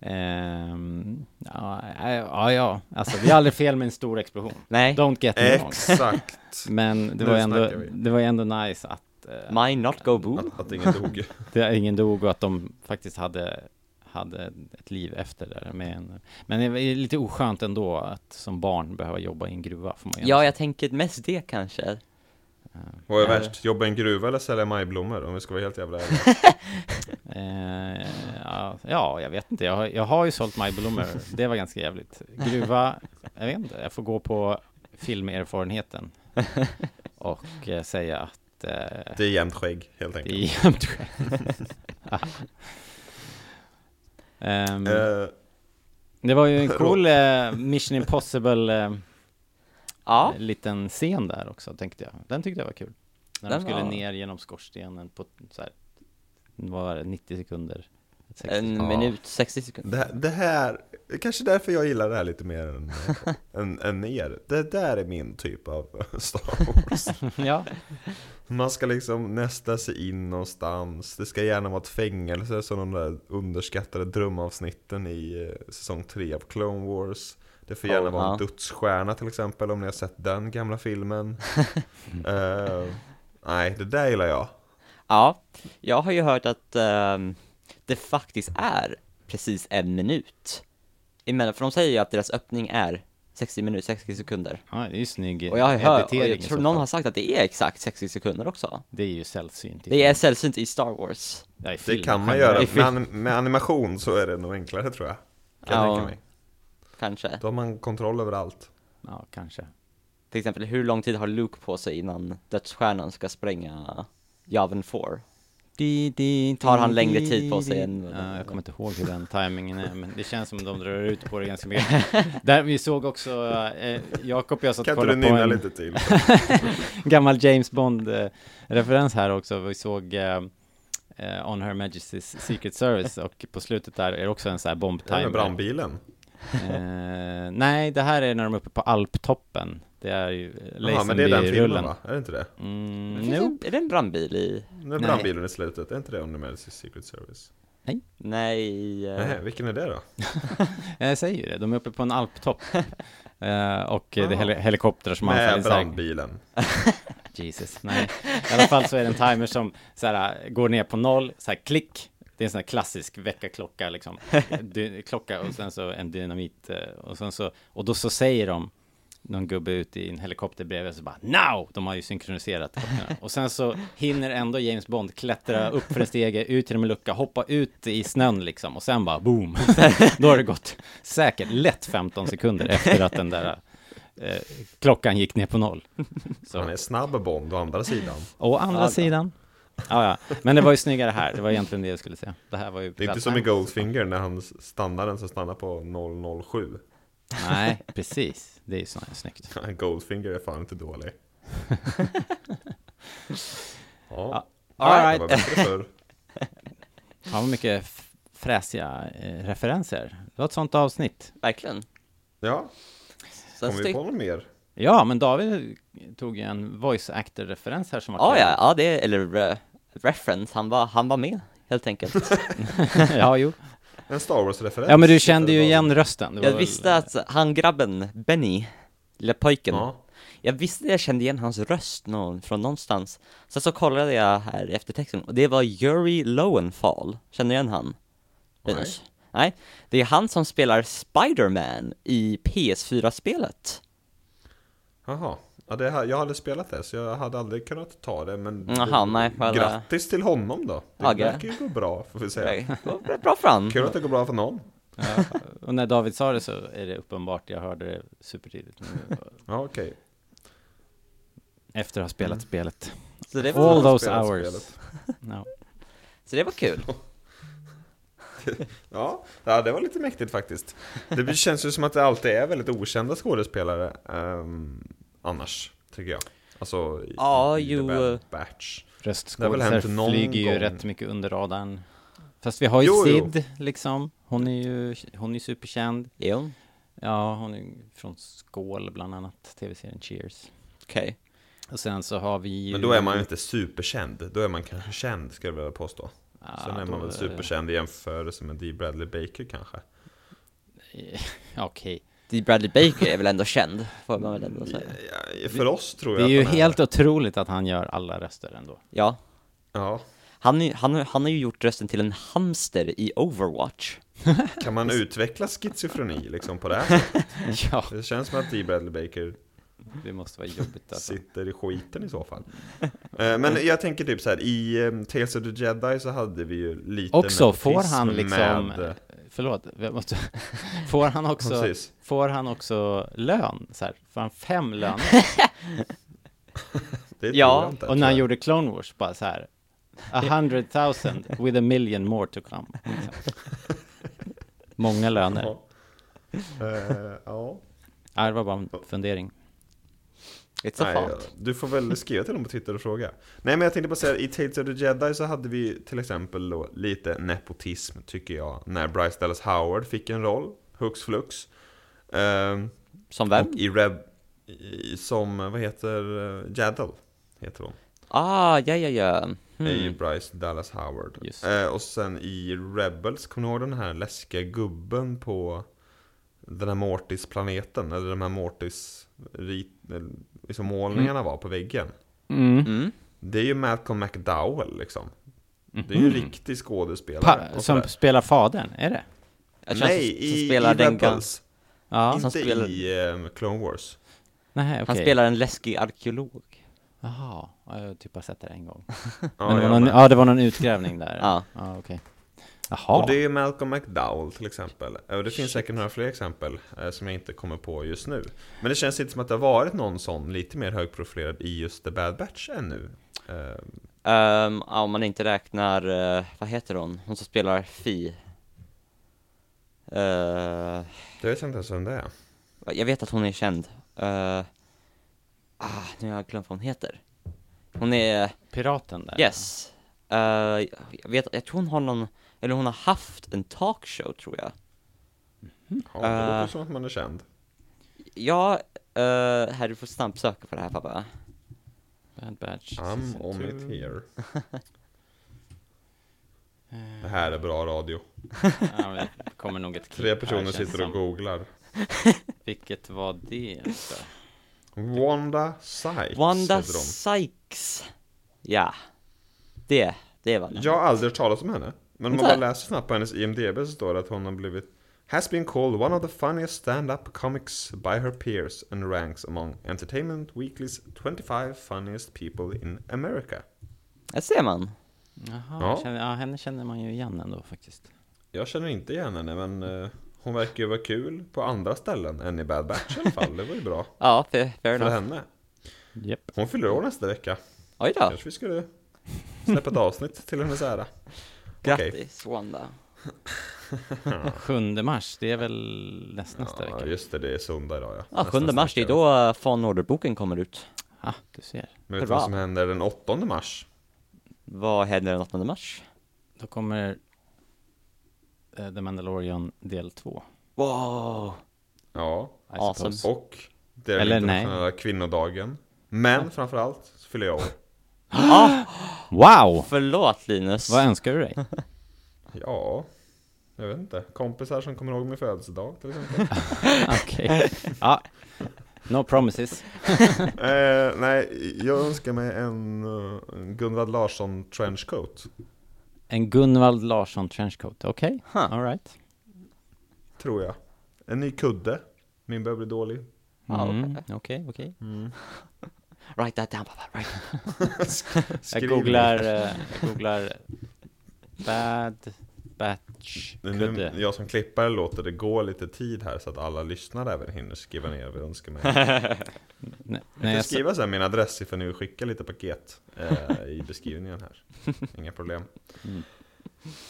[SPEAKER 2] Ehm, ja, ja, ja, ja, alltså det är aldrig fel med en stor explosion.
[SPEAKER 3] Nej,
[SPEAKER 2] Don't get me wrong.
[SPEAKER 1] Exakt.
[SPEAKER 2] Men det
[SPEAKER 1] Nu
[SPEAKER 2] var, ju ändå,
[SPEAKER 1] snackar vi.
[SPEAKER 2] det var ju ändå nice att eh,
[SPEAKER 3] mine not go boom.
[SPEAKER 1] <laughs> Att, att ingen dog.
[SPEAKER 2] det, ingen dog och att de faktiskt hade, hade ett liv efter det. där Med en, men det är lite oskönt ändå att som barn behöva jobba i en gruva. Får man ju
[SPEAKER 3] Ja,
[SPEAKER 2] ändå
[SPEAKER 3] jag tänker mest det kanske.
[SPEAKER 1] Vad är värst? Jobba i en gruva eller sälja majblommor? Om vi ska vara helt jävla ärliga.
[SPEAKER 2] Eh, ja, ja, jag vet inte. Jag har, jag har ju sålt majblommor. Det var ganska jävligt. Gruva, jag vet inte. Jag får gå på <laughs> filmerfarenheten och eh, säga att eh,
[SPEAKER 1] Det är jämnt skägg, helt
[SPEAKER 2] det
[SPEAKER 1] enkelt.
[SPEAKER 2] är <laughs> jämnt skägg. Ehm,
[SPEAKER 1] Eh,
[SPEAKER 2] det var
[SPEAKER 3] <laughs>
[SPEAKER 2] ju en cool eh, Mission Impossible eh,
[SPEAKER 3] Ja,
[SPEAKER 2] liten scen där också, tänkte jag. Den tyckte jag var kul. När
[SPEAKER 3] Den
[SPEAKER 2] de skulle
[SPEAKER 3] var-
[SPEAKER 2] ner genom skorstenen på så här, vad var det, 90 sekunder? 60
[SPEAKER 3] en
[SPEAKER 2] sekunder.
[SPEAKER 3] minut, 60 sekunder.
[SPEAKER 1] Det här, det här, det är kanske därför jag gillar det här lite mer än, än, än er. Det där är min typ av <laughs> Star Wars.
[SPEAKER 2] ja.
[SPEAKER 1] Man ska liksom nästa sig in någonstans. Det ska gärna vara ett fängelse som de där underskattade drömavsnitten i eh, säsong 3 av Clone Wars. Det får gärna
[SPEAKER 3] Oh,
[SPEAKER 1] vara en
[SPEAKER 3] ja.
[SPEAKER 1] dödsstjärna till exempel om ni har sett den gamla
[SPEAKER 2] <laughs>
[SPEAKER 1] filmen. Eh, nej, det där gillar jag.
[SPEAKER 3] Ja, jag har ju hört att ehm, det faktiskt är precis en minut. Emellan, för de säger ju att deras öppning är 60 minuter, 60 sekunder.
[SPEAKER 2] Ja, det är ju snygg
[SPEAKER 3] Och jag har hört, och
[SPEAKER 2] editering
[SPEAKER 3] jag
[SPEAKER 2] i
[SPEAKER 3] tror
[SPEAKER 2] så
[SPEAKER 3] någon
[SPEAKER 2] fall.
[SPEAKER 3] har sagt att det är exakt 60 sekunder också.
[SPEAKER 2] Det är ju sällsynt.
[SPEAKER 3] Det är sällsynt i Star Wars.
[SPEAKER 2] ja, i
[SPEAKER 1] Det
[SPEAKER 2] film
[SPEAKER 1] kan man göra.
[SPEAKER 2] generellt.
[SPEAKER 1] Med, anim- med animation så är det nog enklare tror jag. Kan jag
[SPEAKER 3] Ja.
[SPEAKER 1] tänka mig.
[SPEAKER 3] Kanske.
[SPEAKER 1] Då har man kontroll över allt.
[SPEAKER 2] Ja, kanske.
[SPEAKER 3] Till exempel, hur lång tid har Luke på sig innan dödsstjärnan ska spränga Yavin 4? Tar han längre tid på sig än-
[SPEAKER 2] Ja, jag kommer inte ihåg hur den timingen är, men det känns som de drar ut på det ganska mycket. <laughs> Där vi såg också, eh, Jakob och jag satt
[SPEAKER 1] Kan
[SPEAKER 2] och
[SPEAKER 1] inte du
[SPEAKER 2] kollade på
[SPEAKER 1] nynna
[SPEAKER 2] en
[SPEAKER 1] lite till?
[SPEAKER 2] gammal James Bond-referens här också. Vi såg eh, eh, On Her Majesty's Secret Service och på slutet där är det också en sån här
[SPEAKER 1] Den med
[SPEAKER 2] bombtimer.
[SPEAKER 1] brandbilen?
[SPEAKER 2] Eh, nej, det här är när de är uppe på Alptoppen. Det är ju
[SPEAKER 1] Ja, men det är den filmen
[SPEAKER 2] Lazenby-rullen.
[SPEAKER 1] va? Är det inte det?
[SPEAKER 2] Mm,
[SPEAKER 3] Finns det-
[SPEAKER 2] nope.
[SPEAKER 3] Är det en brandbil i?
[SPEAKER 1] Den där
[SPEAKER 2] Nej.
[SPEAKER 1] brandbilen i slutet, är inte det under Medicine Secret Service?
[SPEAKER 3] Nej, eh,
[SPEAKER 1] Nej, vilken är det då?
[SPEAKER 2] Jag Eh, säger ju det, de är uppe på en
[SPEAKER 1] <laughs>
[SPEAKER 2] alptopp. Eh, och eh, det är
[SPEAKER 1] Ah.
[SPEAKER 2] heli- helikoptrar som
[SPEAKER 1] Med
[SPEAKER 2] anfaller så här-
[SPEAKER 1] brandbilen.
[SPEAKER 2] Jesus, nej. I alla fall så är det en timer som så här, äh, går ner på noll, så här klick. Det är en sån här klassisk väckarklocka liksom. Dy- klocka och sen så en dynamit. eh, Och, sen så, och då så säger de, någon gubbe ute i en helikopter bredvid, så bara NOW! De har ju synkroniserat klockorna. Och sen så hinner ändå James Bond klättra upp för en stege, ut genom en lucka, hoppa ut i snön liksom. Och sen bara boom! <laughs> Då har det gått säkert lätt 15 sekunder efter att den där eh, klockan gick ner på noll. Så.
[SPEAKER 1] Han är snabb Bond å andra sidan.
[SPEAKER 2] Å andra
[SPEAKER 3] Ja, då.
[SPEAKER 2] sidan. Alltså. Ja, ja. Men det var ju snyggare här. Det var egentligen det jag skulle säga. Det här var ju...
[SPEAKER 1] Det är inte som i Goldfinger när han stannar den som stannar på 007.
[SPEAKER 2] Nej, precis. Det är ju snarare snyggt.
[SPEAKER 1] <laughs> Goldfinger är fan inte
[SPEAKER 2] <laughs>
[SPEAKER 1] dålig. Ja,
[SPEAKER 2] All
[SPEAKER 1] det var
[SPEAKER 2] right.
[SPEAKER 1] bättre förr.
[SPEAKER 2] Ja, vad mycket f- fräsiga eh, referenser. Det var ett sånt avsnitt.
[SPEAKER 3] verkligen.
[SPEAKER 2] <laughs>
[SPEAKER 1] Ja,
[SPEAKER 3] Sen
[SPEAKER 1] kom vi
[SPEAKER 3] styck-
[SPEAKER 1] på något mer?
[SPEAKER 2] Ja, men David tog ju en voice actor-referens här som var
[SPEAKER 3] Ja,
[SPEAKER 2] kul.
[SPEAKER 3] ja, ja, det, eller eh, reference, han var, han var med
[SPEAKER 1] <laughs>
[SPEAKER 3] helt enkelt.
[SPEAKER 2] <laughs> ja, jo.
[SPEAKER 1] En Star Wars-referens.
[SPEAKER 2] Ja, men du kände ju igen rösten. Det var
[SPEAKER 3] Jag
[SPEAKER 2] väl-
[SPEAKER 3] visste att han grabben, Benny, lilla pojken,
[SPEAKER 1] Ja.
[SPEAKER 3] jag visste jag kände igen hans röst någon, från någonstans. Sen så kollade jag här i eftertexten och det var Yuri Lowenthal. Känner du igen han? Linus? Nej, det är han som spelar Spider-Man i PS4-spelet.
[SPEAKER 1] Jaha. Ja, det här, jag hade spelat det, så jag hade aldrig kunnat ta det,
[SPEAKER 2] Mm,
[SPEAKER 1] men...
[SPEAKER 3] Jaha, nej, vad-
[SPEAKER 1] Oh, Grattis till honom då! Det
[SPEAKER 3] Ja, gra-
[SPEAKER 1] verkar ju gå bra, får vi säga.
[SPEAKER 3] Det går rätt bra för han.
[SPEAKER 1] Kul att det går bra för någon.
[SPEAKER 2] Och när David sa det så är det uppenbart, jag hörde det supertidigt. nu,
[SPEAKER 1] Ja, okej.
[SPEAKER 2] Efter att ha spelat spelet.
[SPEAKER 3] Så det var,
[SPEAKER 2] All those
[SPEAKER 1] spelat
[SPEAKER 2] hours.
[SPEAKER 1] spelet.
[SPEAKER 2] Ja.
[SPEAKER 3] så det var kul.
[SPEAKER 1] Ja, ja, det var lite mäktigt faktiskt. Det <laughs> känns ju som att det alltid är väldigt okända skådespelare ehm, annars, tycker jag. Alltså, i,
[SPEAKER 3] Ja,
[SPEAKER 1] i The
[SPEAKER 3] jo,
[SPEAKER 1] Bad
[SPEAKER 3] eh,
[SPEAKER 1] Batch. Det har väl hänt
[SPEAKER 2] Röstskådisar
[SPEAKER 1] någon
[SPEAKER 2] flyger ju
[SPEAKER 1] gång.
[SPEAKER 2] rätt mycket under radarn. Fast vi har ju
[SPEAKER 1] Jo, jo.
[SPEAKER 2] Sid, liksom. Hon är ju hon är ju superkänd.
[SPEAKER 3] Jo,
[SPEAKER 2] Ja, hon är ju från Skål, bland annat. Tv-serien Cheers.
[SPEAKER 3] okej.
[SPEAKER 2] Och sen så har vi ju...
[SPEAKER 1] Men då är man ju inte superkänd, då är man kanske känd skulle jag vilja påstå. Sen är man väl superkänd i jämförelse med Dee Bradley Baker kanske.
[SPEAKER 2] Ja, Okej.
[SPEAKER 3] Dee Bradley Baker är väl ändå känd, får man väl ändå säga.
[SPEAKER 1] Mm. Ja, för oss tror
[SPEAKER 2] Det är
[SPEAKER 1] jag
[SPEAKER 2] ju
[SPEAKER 1] att han
[SPEAKER 2] helt otroligt att han gör alla röster ändå. <laughs>
[SPEAKER 3] Ja,
[SPEAKER 1] Ja,
[SPEAKER 3] han, är- han, han har ju gjort rösten till en hamster i Overwatch.
[SPEAKER 1] kan
[SPEAKER 2] <laughs>
[SPEAKER 1] man utveckla schizofreni liksom på det här sättet?
[SPEAKER 2] Ja,
[SPEAKER 1] Det känns som att Dee Bradley Baker
[SPEAKER 2] det måste vara jobbigt alltså.
[SPEAKER 1] sitter i skiten i så fall. Eh, Men jag tänker typ så här, i eh, Tales of the Jedi så hade vi ju lite
[SPEAKER 2] Också, får
[SPEAKER 1] nepotism
[SPEAKER 2] han liksom...
[SPEAKER 1] med-
[SPEAKER 2] Förlåt, jag måste, <laughs> får, han också,
[SPEAKER 1] Precis.
[SPEAKER 2] får han också lön? Så här, får han fem löner?
[SPEAKER 1] det tror
[SPEAKER 3] Ja,
[SPEAKER 1] jag inte,
[SPEAKER 2] Och
[SPEAKER 1] tror
[SPEAKER 2] när han
[SPEAKER 1] jag.
[SPEAKER 2] gjorde Clone Wars, bara så här... A hundred thousand with a million more to
[SPEAKER 1] <laughs>
[SPEAKER 2] come. liksom. Många löner.
[SPEAKER 1] Ja. Eh,
[SPEAKER 2] <laughs>
[SPEAKER 1] ja.
[SPEAKER 2] Ja, det var bara en fundering.
[SPEAKER 3] It's a
[SPEAKER 1] Nej,
[SPEAKER 3] font.
[SPEAKER 1] du får väl skriva till dem på Twitter och fråga. Nej men jag tänkte bara säga, i Tales of the Jedi så hade vi till exempel då lite nepotism tycker jag. När Bryce Dallas Howard fick en roll, hux flux. Ehm,
[SPEAKER 3] Som vem?
[SPEAKER 1] Och i Reb... I, som, vad heter, eh, Jaddle heter hon.
[SPEAKER 3] Ah, ja, ja, ja. Hmm.
[SPEAKER 1] Det är ju
[SPEAKER 2] Mm.
[SPEAKER 1] Bryce Dallas Howard.
[SPEAKER 2] Just.
[SPEAKER 1] Eh, och sen i Rebels, kommer ni ihåg den här läskiga gubben på den här Mortis-planeten? Eller de här Mortis-rit- eller liksom målningarna var på väggen.
[SPEAKER 3] Mm.
[SPEAKER 1] Det är ju Malcolm McDowell liksom. Det är ju en riktig skådespelare.
[SPEAKER 2] Mm. Pa,
[SPEAKER 1] och
[SPEAKER 2] Eh, som
[SPEAKER 1] sådär.
[SPEAKER 2] spelar fadern, är det?
[SPEAKER 3] Jag tror
[SPEAKER 1] Nej,
[SPEAKER 3] han,
[SPEAKER 1] i,
[SPEAKER 3] som
[SPEAKER 1] i
[SPEAKER 3] spelar den gam-
[SPEAKER 1] Rebels.
[SPEAKER 2] Ja.
[SPEAKER 1] Inte
[SPEAKER 3] som spelar-
[SPEAKER 1] i eh, Clone Wars.
[SPEAKER 2] Nej, okej.
[SPEAKER 3] han spelar en läskig arkeolog.
[SPEAKER 2] Jaha, ja, jag har typ bara sett det en gång.
[SPEAKER 1] Ja,
[SPEAKER 2] Men det
[SPEAKER 1] jag
[SPEAKER 2] var någon,
[SPEAKER 1] med.
[SPEAKER 2] ja, det var någon
[SPEAKER 1] <laughs>
[SPEAKER 2] utgrävning där.
[SPEAKER 3] Ja.
[SPEAKER 2] ja okej. Jaha.
[SPEAKER 1] Och det är Malcolm McDowell till exempel. Eh, Och det finns säkert några fler exempel eh, som jag inte kommer på just nu. Men det känns inte som att det har varit någon sån lite mer högprofilerad i just The Bad Batch ännu. Eh,
[SPEAKER 3] Ehm, ja, om man inte räknar, eh, vad heter hon? Hon som spelar Fi. Eh,
[SPEAKER 1] Det vet jag inte ens vem det är.
[SPEAKER 3] jag vet att hon är känd. Eh, ah, nu har jag glömt vad hon heter. Hon är,
[SPEAKER 2] Piraten där.
[SPEAKER 3] yes. Eh, jag, vet, jag tror hon har någon, eller hon har haft en talkshow tror jag.
[SPEAKER 1] Ja, det
[SPEAKER 3] Eh.
[SPEAKER 1] låter som att man är känd.
[SPEAKER 3] Ja, uh, här du får snabbsöka på det här pappa.
[SPEAKER 2] Bad Batch.
[SPEAKER 1] I'm
[SPEAKER 2] season
[SPEAKER 1] on
[SPEAKER 2] two.
[SPEAKER 1] it <laughs> here. Det här är bra radio.
[SPEAKER 2] Ja, men det kommer nog ett
[SPEAKER 1] <laughs>
[SPEAKER 2] klipp
[SPEAKER 1] Tre
[SPEAKER 2] här,
[SPEAKER 1] personer
[SPEAKER 2] känns
[SPEAKER 1] sitter och
[SPEAKER 2] som.
[SPEAKER 1] googlar.
[SPEAKER 2] Vilket var det? Alltså?
[SPEAKER 1] Wanda Sykes
[SPEAKER 3] Wanda
[SPEAKER 1] heter de.
[SPEAKER 3] Sykes. Ja. Det, det var det.
[SPEAKER 1] Jag har aldrig hört talas om henne. Men om man
[SPEAKER 3] Inte?
[SPEAKER 1] bara läser snabbt på hennes IMDB så står det att hon har blivit Has been called one of the funniest stand-up comics by her peers and ranks among Entertainment Weeklys 25 funniest people in America.
[SPEAKER 3] Där ser man.
[SPEAKER 2] Jaha,
[SPEAKER 1] Ja.
[SPEAKER 2] jag känner, ja, henne känner man ju igen ändå faktiskt.
[SPEAKER 1] Jag känner inte igen henne men eh, hon verkar ju vara kul på andra ställen än i Bad Batch i alla fall. Det var ju bra
[SPEAKER 3] Ja, fair, fair
[SPEAKER 1] för
[SPEAKER 3] enough.
[SPEAKER 1] henne.
[SPEAKER 2] Japp.
[SPEAKER 1] Hon fyller år nästa vecka.
[SPEAKER 3] Oj då,
[SPEAKER 1] Kanske vi skulle släppa ett avsnitt till hennes ära. okej.
[SPEAKER 3] grattis Wanda.
[SPEAKER 2] 7 mars, det är väl näst, nästa
[SPEAKER 1] Ja,
[SPEAKER 2] vecka?
[SPEAKER 1] just det, det är söndag idag ja.
[SPEAKER 3] Ja, 7
[SPEAKER 1] Nästa
[SPEAKER 3] mars, det är
[SPEAKER 1] vecka.
[SPEAKER 3] då eh, Fan Order-boken kommer ut.
[SPEAKER 2] Ja, du ser.
[SPEAKER 1] Men vet du
[SPEAKER 3] Hurra.
[SPEAKER 1] vad som händer den 8 mars?
[SPEAKER 3] Vad händer den 8 mars?
[SPEAKER 2] Då kommer eh, The Mandalorian del 2.
[SPEAKER 3] Wow!
[SPEAKER 1] Ja,
[SPEAKER 3] Awesome.
[SPEAKER 1] Och det är
[SPEAKER 2] Eller
[SPEAKER 1] den internationella kvinnodagen. Men framförallt så fyller jag år.
[SPEAKER 2] Wow!
[SPEAKER 3] Förlåt Linus.
[SPEAKER 2] Vad önskar
[SPEAKER 1] <laughs>
[SPEAKER 2] du dig?
[SPEAKER 1] Ja, jag vet inte. Kompisar som kommer ihåg min födelsedag till
[SPEAKER 2] <laughs>
[SPEAKER 1] exempel.
[SPEAKER 2] Okej. Ja. No promises.
[SPEAKER 1] eh, nej, jag önskar mig en eh, en Gunvald Larsson trenchcoat.
[SPEAKER 2] En Gunvald Larsson trenchcoat. Okej.
[SPEAKER 3] Huh.
[SPEAKER 2] All right.
[SPEAKER 1] Tror jag. En ny kudde. Min börjar bli dålig.
[SPEAKER 3] Ja, okej.
[SPEAKER 2] Mm, Okej, okej.
[SPEAKER 3] Write that down pappa, write that
[SPEAKER 2] Jag
[SPEAKER 1] Skriv
[SPEAKER 2] googlar,
[SPEAKER 1] det.
[SPEAKER 2] eh, jag googlar bad batch
[SPEAKER 1] Det är Nu,
[SPEAKER 2] kudde.
[SPEAKER 1] jag som klippare låter det gå lite tid här så att alla lyssnare även hinner skriva ner vad jag önskar
[SPEAKER 2] <laughs>
[SPEAKER 1] mig. Jag
[SPEAKER 2] Nej,
[SPEAKER 1] kan
[SPEAKER 2] nej, jag, sa-
[SPEAKER 1] skriva sen min adress ifall ni vill skicka lite paket eh,
[SPEAKER 2] <laughs>
[SPEAKER 1] i beskrivningen här. Inga problem.
[SPEAKER 2] Mm.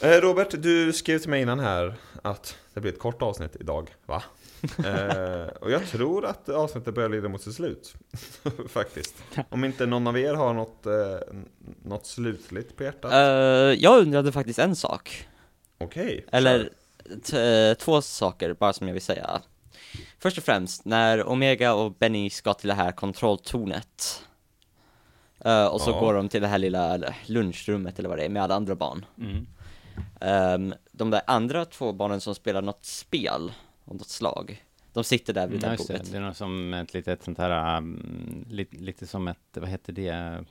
[SPEAKER 1] Eh, Robert, du skrev till mig innan här att det blir ett kort avsnitt idag,
[SPEAKER 2] <laughs>
[SPEAKER 1] va? Eh, och jag tror att avsnittet börjar lida mot sitt slut, <laughs> faktiskt. Om inte någon av er har något, eh, n- något slutligt på hjärtat.
[SPEAKER 3] down. Eh, jag undrade faktiskt en sak.
[SPEAKER 1] Okej.
[SPEAKER 3] Eller t- eh, två saker bara som jag vill säga. Först och främst, när Omega och Benny ska till det här kontrolltornet. eh, och så
[SPEAKER 1] Ja.
[SPEAKER 3] går de till det här lilla eller, lunchrummet eller vad det är med alla andra barn.
[SPEAKER 2] Mm.
[SPEAKER 3] Ehm, de där andra två barnen som spelar något spel av något slag. De sitter där vid det
[SPEAKER 2] ja,
[SPEAKER 3] där
[SPEAKER 2] just det.
[SPEAKER 3] bordet.
[SPEAKER 2] det är något som ett litet sånt här, um, lite, lite som ett, vad heter det,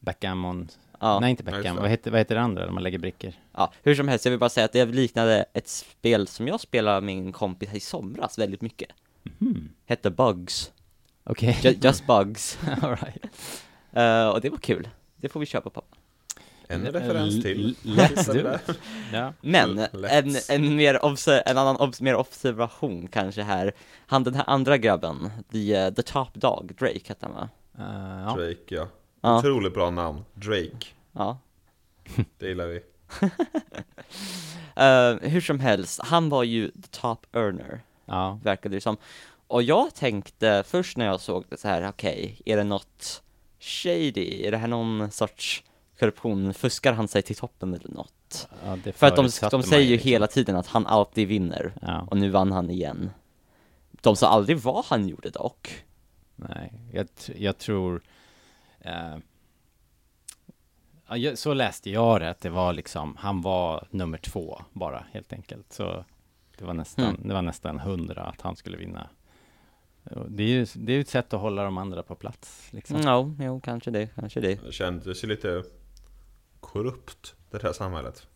[SPEAKER 2] backgammon?
[SPEAKER 3] Ja.
[SPEAKER 2] Nej, inte
[SPEAKER 1] just
[SPEAKER 2] backgammon.
[SPEAKER 1] det.
[SPEAKER 2] Vad heter, vad heter det andra när man lägger brickor?
[SPEAKER 3] Ja, hur som helst, jag vill bara säga att det liknade ett spel som jag spelade med min kompis i somras väldigt mycket.
[SPEAKER 2] Mhm.
[SPEAKER 3] Hette Bugs.
[SPEAKER 2] Okej.
[SPEAKER 3] Ju- Just Bugs. <laughs>
[SPEAKER 2] All right.
[SPEAKER 3] Eh, och det var kul. Det får vi köpa pappa.
[SPEAKER 1] En referens
[SPEAKER 2] L-
[SPEAKER 1] till.
[SPEAKER 2] l- Let's
[SPEAKER 1] Titta <laughs>
[SPEAKER 2] do
[SPEAKER 1] där.
[SPEAKER 2] it. <laughs> Ja.
[SPEAKER 3] Men
[SPEAKER 1] L-
[SPEAKER 3] en,
[SPEAKER 1] let's.
[SPEAKER 3] en, mer obse- en annan obs- mer observation kanske här. Han den här andra grabben, the, eh, the top dog, Drake hette han va?
[SPEAKER 2] Eh, ja.
[SPEAKER 1] Drake ja.
[SPEAKER 3] Ja.
[SPEAKER 1] Otroligt bra namn. Drake.
[SPEAKER 3] Ja.
[SPEAKER 1] Det gillar vi.
[SPEAKER 3] Eh, hur som helst, han var ju the top earner,
[SPEAKER 2] ja.
[SPEAKER 3] verkade det som. Och jag tänkte först när jag såg det så här, okej, är det något shady? Är det här någon sorts korruption? Fuskar han sig till toppen eller något?
[SPEAKER 2] ja det
[SPEAKER 3] För att de,
[SPEAKER 2] förutsatte
[SPEAKER 3] de
[SPEAKER 2] man
[SPEAKER 3] säger ju
[SPEAKER 2] liksom.
[SPEAKER 3] hela tiden att han alltid vinner.
[SPEAKER 2] Ja.
[SPEAKER 3] Och nu vann han igen. De sa aldrig vad han gjorde dock.
[SPEAKER 2] Nej, jag, tr- jag tror... eh, ja, jag, så läste jag det, att det var liksom, han var nummer två bara, helt enkelt. Så det var nästan,
[SPEAKER 3] Hmm.
[SPEAKER 2] det var nästan hundra att han skulle vinna. Och Det är ju det är ju ett sätt att hålla de andra på plats, liksom.
[SPEAKER 3] Ja, jo, kanske det, kanske det.
[SPEAKER 1] Det kändes ju lite korrupt det här samhället.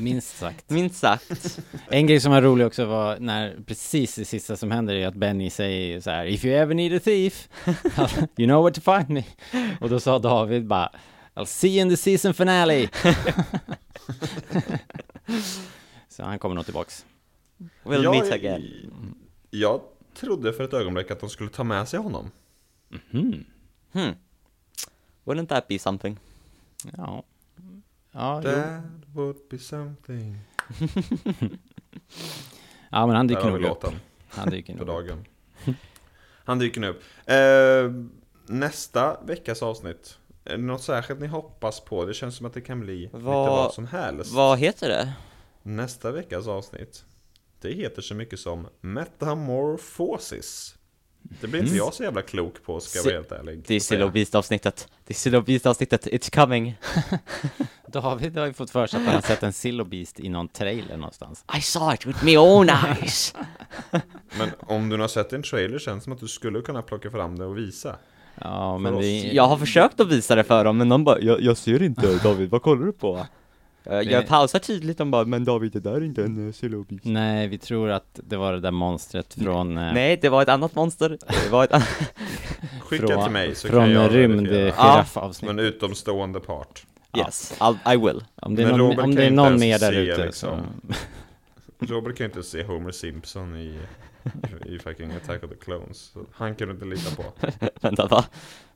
[SPEAKER 2] Minst sagt.
[SPEAKER 3] Minst sagt.
[SPEAKER 2] En grej som var rolig också var när precis det sista som händer är att Benny säger så här If you ever need a thief, <laughs> you know where to find me. Och då sa David bara I'll see you in the season finale. <laughs> så han kommer nog tillbaks.
[SPEAKER 3] <laughs> We'll
[SPEAKER 1] jag,
[SPEAKER 3] meet again.
[SPEAKER 1] Jag trodde för ett ögonblick att de skulle ta med sig honom.
[SPEAKER 3] Wouldn't that be something?
[SPEAKER 2] Ja. Ja, jo.
[SPEAKER 1] That would be something.
[SPEAKER 2] ja, men han
[SPEAKER 1] Där
[SPEAKER 2] dyker
[SPEAKER 1] har vi
[SPEAKER 2] nog upp.
[SPEAKER 1] låten
[SPEAKER 2] Han dyker
[SPEAKER 1] på
[SPEAKER 2] nog upp.
[SPEAKER 1] dagen. <laughs> Han dyker nu upp. Eh, nästa veckas avsnitt. Är det något särskilt ni hoppas på? Det känns som att det kan bli lite
[SPEAKER 3] Vad-
[SPEAKER 1] vad som helst.
[SPEAKER 3] Vad heter det?
[SPEAKER 1] Nästa veckas avsnitt Det heter så mycket som Metamorphosis Det blir inte jag så jävla klok på ska jag vara helt ärlig
[SPEAKER 3] Mm. Det är
[SPEAKER 1] att säga.
[SPEAKER 3] Sill och Beast-avsnittet. Det är Sill och Beast-avsnittet, it's coming.
[SPEAKER 2] David har ju fått för sig att han har sett en Sillobeast i någon trailer någonstans.
[SPEAKER 3] I saw it with my own eyes. <laughs>
[SPEAKER 1] Men om du nu har sett en trailer känns det som att du skulle kunna plocka fram det och visa
[SPEAKER 2] Ja, men det,
[SPEAKER 3] Jag har försökt att visa det för dem, men de bara jag, jag ser inte David, vad kollar du <laughs> på? Jag, jag pausar tydligt, de bara Men David, det där är inte en eh, Sill och Beast.
[SPEAKER 2] Nej, vi tror att det var det där monstret från... eh,
[SPEAKER 3] Nej, det var ett annat monster. Det var ett annat...
[SPEAKER 1] Skicka
[SPEAKER 2] från,
[SPEAKER 1] till mig så
[SPEAKER 2] Från
[SPEAKER 1] kan jag verifiera.
[SPEAKER 2] rymdgiraffavsnitt.
[SPEAKER 1] Som en utomstående part
[SPEAKER 3] <laughs> Yes, I'll, I will.
[SPEAKER 2] Om det är
[SPEAKER 1] Men
[SPEAKER 2] någon,
[SPEAKER 1] Robert
[SPEAKER 2] om
[SPEAKER 1] kan
[SPEAKER 2] det är
[SPEAKER 1] ju
[SPEAKER 2] någon
[SPEAKER 1] inte
[SPEAKER 2] mer
[SPEAKER 1] ens
[SPEAKER 2] där
[SPEAKER 1] se,
[SPEAKER 2] ute
[SPEAKER 1] liksom.
[SPEAKER 2] så...
[SPEAKER 1] Robert kan ju inte se Homer Simpson i, i fucking Attack of the Clones Så Han kan du inte lita på
[SPEAKER 3] <laughs> Vänta, va?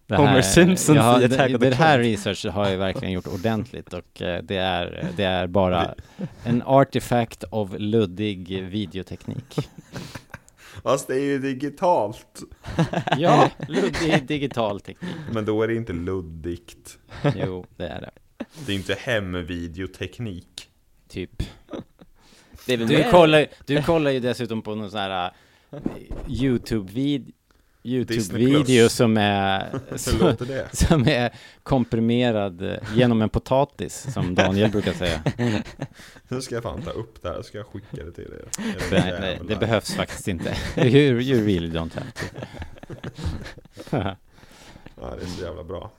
[SPEAKER 2] Det
[SPEAKER 3] Homer Simpson
[SPEAKER 2] jag har,
[SPEAKER 3] i Attack
[SPEAKER 2] det,
[SPEAKER 3] of the
[SPEAKER 2] det här research har jag verkligen gjort ordentligt och eh, det är, det är bara en artifact av luddig
[SPEAKER 1] <laughs>
[SPEAKER 2] videoteknik.
[SPEAKER 1] Fast det är ju digitalt
[SPEAKER 2] Ja, luddig digital teknik.
[SPEAKER 1] Men då är det inte luddigt
[SPEAKER 2] Jo, det är det.
[SPEAKER 1] Det är inte hemvideoteknik
[SPEAKER 2] Typ.
[SPEAKER 3] Det är väl
[SPEAKER 2] Du
[SPEAKER 3] mer-
[SPEAKER 2] kollar, du kollar ju dessutom på någon sån här eh, YouTube-video YouTube-video
[SPEAKER 1] Plus.
[SPEAKER 2] som är,
[SPEAKER 1] <laughs> Hur
[SPEAKER 2] som,
[SPEAKER 1] låter det?
[SPEAKER 2] som är komprimerad eh, genom en potatis, som Daniel brukar säga.
[SPEAKER 1] Nu ska jag fan ta upp det här, ska jag skicka det till er.
[SPEAKER 2] <laughs> Nej, nej, det behövs faktiskt <laughs> inte. You, you really don't have to.
[SPEAKER 1] Ja, det är så jävla bra.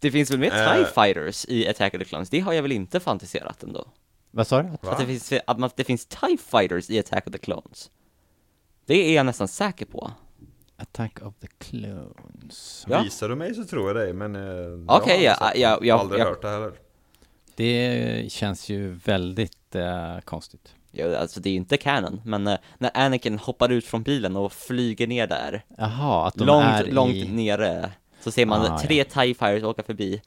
[SPEAKER 3] Det finns väl mer
[SPEAKER 1] Eh.
[SPEAKER 3] TIE fighters i Attack of the Clones? Det har jag väl inte fantiserat ändå?
[SPEAKER 2] Vad sa du?
[SPEAKER 3] Att
[SPEAKER 1] Va?
[SPEAKER 3] det, finns, att, man, det finns TIE fighters i Attack of the Clones. Det är jag nästan säker på.
[SPEAKER 2] Attack of the Clones.
[SPEAKER 3] Ja.
[SPEAKER 1] Visar du mig så tror jag dig, men... eh, jag har aldrig
[SPEAKER 3] Okej, jag-
[SPEAKER 1] sett det.
[SPEAKER 3] jag- jag-
[SPEAKER 1] Aldrig
[SPEAKER 3] jag-
[SPEAKER 1] hört det heller.
[SPEAKER 2] Det känns ju väldigt eh, konstigt.
[SPEAKER 3] Ja, alltså det är inte canon, men eh, när Anakin hoppar ut från bilen och flyger ner där,
[SPEAKER 2] Jaha, att de är
[SPEAKER 3] långt, långt
[SPEAKER 2] i...
[SPEAKER 3] nere, så ser man
[SPEAKER 2] Ah,
[SPEAKER 3] tre TIE fighters åka förbi.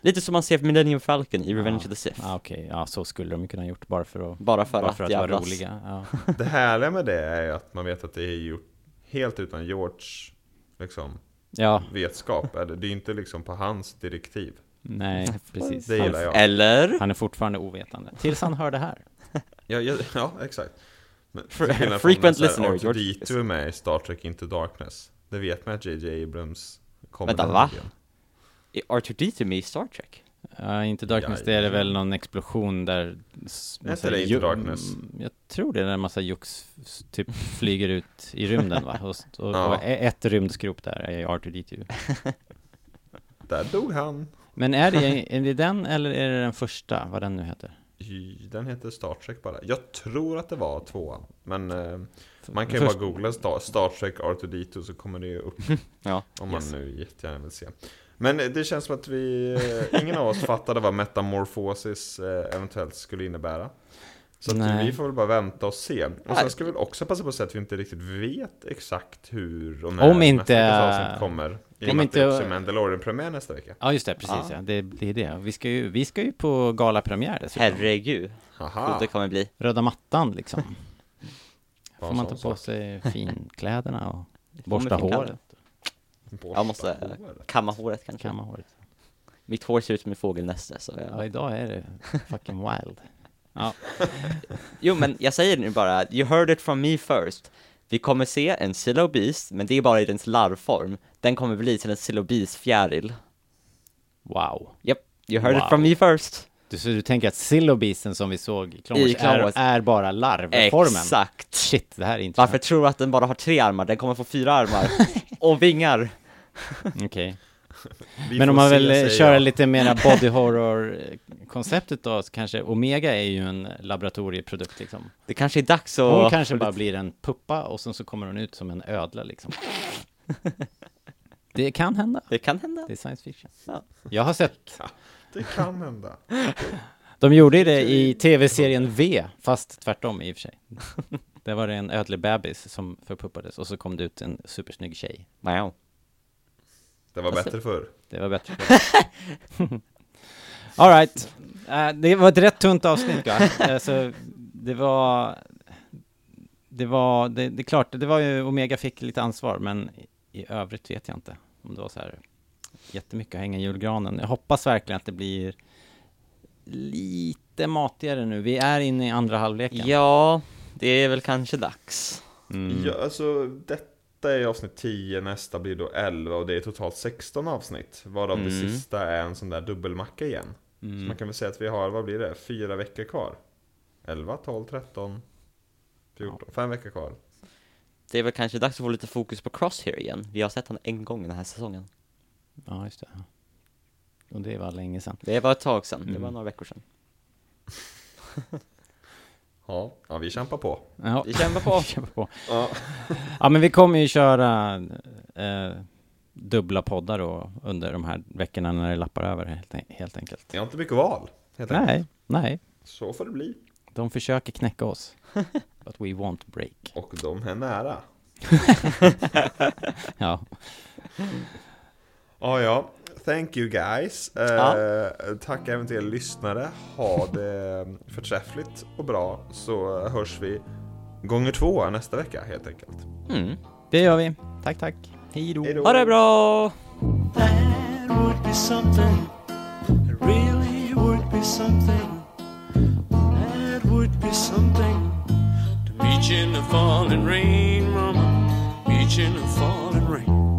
[SPEAKER 3] Lite som man ser Millennium Falcon i Revenge
[SPEAKER 2] Ja.
[SPEAKER 3] of the Sith.
[SPEAKER 2] Ah, Okej, ja så skulle de ju kunna ha gjort bara för att,
[SPEAKER 3] Bara för
[SPEAKER 2] bara
[SPEAKER 3] att
[SPEAKER 2] för att vara
[SPEAKER 3] jävlas.
[SPEAKER 2] roliga. Ja.
[SPEAKER 1] Det härliga med det är ju att man vet att det är gjort helt utan George liksom,
[SPEAKER 2] ja,
[SPEAKER 1] vetskap. Eller, det är ju inte liksom på hans direktiv.
[SPEAKER 2] nej, precis.
[SPEAKER 1] Det gillar jag.
[SPEAKER 3] Eller?
[SPEAKER 2] Han är fortfarande ovetande. Tills han hör det här.
[SPEAKER 1] Ja, ja, ja exakt. Men,
[SPEAKER 3] Fre-
[SPEAKER 1] till skillnad
[SPEAKER 3] frequent
[SPEAKER 1] från när så här
[SPEAKER 3] listener,
[SPEAKER 1] R2D2
[SPEAKER 3] George.
[SPEAKER 1] är med i Star Trek Into Darkness. Det vet man att JJ Abrams kommer
[SPEAKER 3] Vänta,
[SPEAKER 1] den
[SPEAKER 3] va?
[SPEAKER 1] idén.
[SPEAKER 3] Är R2D2 med i Star Trek?
[SPEAKER 2] Ja, inte Darkness, det är det väl någon explosion där... s-
[SPEAKER 1] Heter
[SPEAKER 2] massa
[SPEAKER 1] det inte
[SPEAKER 2] ju-
[SPEAKER 1] Darkness?
[SPEAKER 2] mm, Jag tror det, är där en massa jox s-
[SPEAKER 1] <laughs>
[SPEAKER 2] typ flyger ut i rymden va? Och, och,
[SPEAKER 1] Ja.
[SPEAKER 2] och e- ett rymdskrop där är R2D2.
[SPEAKER 1] Där dog han.
[SPEAKER 2] Men
[SPEAKER 1] <laughs>
[SPEAKER 2] är det, är det den eller är det den första, vad den nu heter?
[SPEAKER 1] Y- Den heter Star Trek bara. Jag tror att det var tvåan. Men eh, man kan ju
[SPEAKER 2] Först-
[SPEAKER 1] bara googla Star, Star Trek R2D2 så kommer det ju
[SPEAKER 2] <laughs>
[SPEAKER 1] upp.
[SPEAKER 3] Ja.
[SPEAKER 1] Om man nu jättegärna vill se. Men eh, det känns som att vi, eh, ingen
[SPEAKER 2] <laughs>
[SPEAKER 1] av oss fattade vad metamorfosis eh, eventuellt skulle innebära. Så att
[SPEAKER 2] Nej.
[SPEAKER 1] vi får väl bara vänta och se. Och sen
[SPEAKER 3] Nej.
[SPEAKER 1] ska vi väl också passa på att säga att vi inte riktigt vet exakt hur och
[SPEAKER 2] Om
[SPEAKER 1] nästa
[SPEAKER 2] inte-
[SPEAKER 1] veckas avsnitt kommer. I och
[SPEAKER 2] om
[SPEAKER 1] med att det
[SPEAKER 2] inte-
[SPEAKER 1] också är Mandalorian-premiär nästa vecka.
[SPEAKER 2] Ja just det, precis ja. Det, det är det. Vi ska ju, vi ska ju på galapremiär dessutom.
[SPEAKER 3] Herregud,
[SPEAKER 2] Ah.
[SPEAKER 3] coolt
[SPEAKER 1] Haha,
[SPEAKER 3] det kommer bli.
[SPEAKER 2] Röda mattan
[SPEAKER 1] <laughs>
[SPEAKER 2] liksom.
[SPEAKER 1] Bara
[SPEAKER 2] Får man
[SPEAKER 1] en
[SPEAKER 2] ta
[SPEAKER 1] sån
[SPEAKER 2] på sig
[SPEAKER 1] <laughs>
[SPEAKER 2] finkläderna och
[SPEAKER 3] man
[SPEAKER 2] borsta
[SPEAKER 3] finkläder.
[SPEAKER 2] håret,
[SPEAKER 1] borsta
[SPEAKER 3] Jag måste
[SPEAKER 1] håret.
[SPEAKER 3] kamma håret kanske.
[SPEAKER 2] kamma håret.
[SPEAKER 3] Mitt hår ser ut som en fågelnäste, så jag...
[SPEAKER 2] Ja, idag är det
[SPEAKER 1] <laughs>
[SPEAKER 2] fucking wild. Ja,
[SPEAKER 3] Jo men jag säger nu bara, you heard it from me first. Vi kommer se en Silo Beast, men det är bara i dens larvform. Den kommer bli till en Silo Beast-fjäril.
[SPEAKER 2] wow.
[SPEAKER 3] Yep, you heard
[SPEAKER 2] Wow.
[SPEAKER 3] it from me first.
[SPEAKER 2] Du, så du tänker att Sillobisen som vi såg i Clone
[SPEAKER 3] I
[SPEAKER 2] Wars
[SPEAKER 3] Clone Wars.
[SPEAKER 2] Är, är bara larvformen?
[SPEAKER 3] Exakt.
[SPEAKER 2] Shit, det här är intressant.
[SPEAKER 3] Varför tror du att den bara har tre armar? Den kommer få
[SPEAKER 2] <laughs>
[SPEAKER 3] fyra armar. och vingar.
[SPEAKER 2] Okej.
[SPEAKER 1] Vi
[SPEAKER 2] Men om
[SPEAKER 1] får
[SPEAKER 2] man
[SPEAKER 1] se,
[SPEAKER 2] vill eh,
[SPEAKER 1] säger
[SPEAKER 2] köra
[SPEAKER 1] jag.
[SPEAKER 2] lite mera body horror-konceptet då, så kanske Omega är ju en laboratorieprodukt liksom.
[SPEAKER 3] Det kanske är dags att...
[SPEAKER 2] Hon kanske bara blir en puppa och sen så kommer hon ut som en ödla liksom. Det kan hända.
[SPEAKER 3] Det kan hända.
[SPEAKER 2] Det är science fiction.
[SPEAKER 3] Ja.
[SPEAKER 2] Jag har sett.
[SPEAKER 1] Det kan hända.
[SPEAKER 2] De gjorde ju det i tv-serien V, fast tvärtom i och för sig. Där var det en ödlig bebis som förpuppades och så kom det ut en supersnygg tjej.
[SPEAKER 3] Wow.
[SPEAKER 1] Det var
[SPEAKER 3] Alltså-
[SPEAKER 1] bättre förr.
[SPEAKER 2] Det var bättre. Alright. Äh, det var ett rätt tunt avsnitt, va? alltså, det var... Det var, det, det är klart, det var ju, Omega fick lite ansvar, men i, i övrigt vet jag inte om det var så här jättemycket att hänga i julgranen. Jag hoppas verkligen att det blir lite matigare nu. Vi är inne i andra halvleken.
[SPEAKER 3] Ja, det är väl kanske dags.
[SPEAKER 2] Mm.
[SPEAKER 1] Ja, alltså detta är avsnitt 10, nästa blir då 11 och det är totalt 16 avsnitt. Varav det
[SPEAKER 3] Mm.
[SPEAKER 1] sista är en sån där dubbelmacka igen.
[SPEAKER 2] Mm.
[SPEAKER 1] Så man kan väl säga att vi har, vad blir det, fyra veckor kvar? 11, 12, 13, 14, fem veckor kvar.
[SPEAKER 3] Det är väl kanske dags att få lite fokus på Crosshair igen. Vi har sett honom en gång den här säsongen.
[SPEAKER 2] ja, just det. Och det var länge sedan.
[SPEAKER 3] Det var ett tag sedan. Det var
[SPEAKER 2] Mm.
[SPEAKER 3] några veckor sedan.
[SPEAKER 1] Ja, ja vi kämpar på.
[SPEAKER 2] Ja.
[SPEAKER 3] Vi
[SPEAKER 2] <laughs>
[SPEAKER 3] kämpar på.
[SPEAKER 2] Vi kämpar på.
[SPEAKER 1] Ja.
[SPEAKER 2] Ja men vi kommer ju köra eh, dubbla poddar då under de här veckorna när det lappar över helt, en- helt enkelt.
[SPEAKER 1] Jag har inte mycket val, helt
[SPEAKER 2] Nej,
[SPEAKER 1] enkelt.
[SPEAKER 2] nej.
[SPEAKER 1] Så får det bli.
[SPEAKER 2] De försöker knäcka <laughs> oss. But we won't break.
[SPEAKER 1] Och de är nära.
[SPEAKER 2] Ja.
[SPEAKER 1] Ja, ja. Thank you guys. Eh,
[SPEAKER 3] Ja.
[SPEAKER 1] Tack även till er lyssnare. Ha det förträffligt och bra så hörs vi gånger två nästa vecka helt enkelt.
[SPEAKER 3] Mm.
[SPEAKER 2] Det gör vi. Tack, tack. Hej då.
[SPEAKER 1] Hej då.
[SPEAKER 3] Ha det bra!
[SPEAKER 7] That would be something. It really would be something. That would be something. To beach in the falling rain, Mama. Beach mention of falling rain.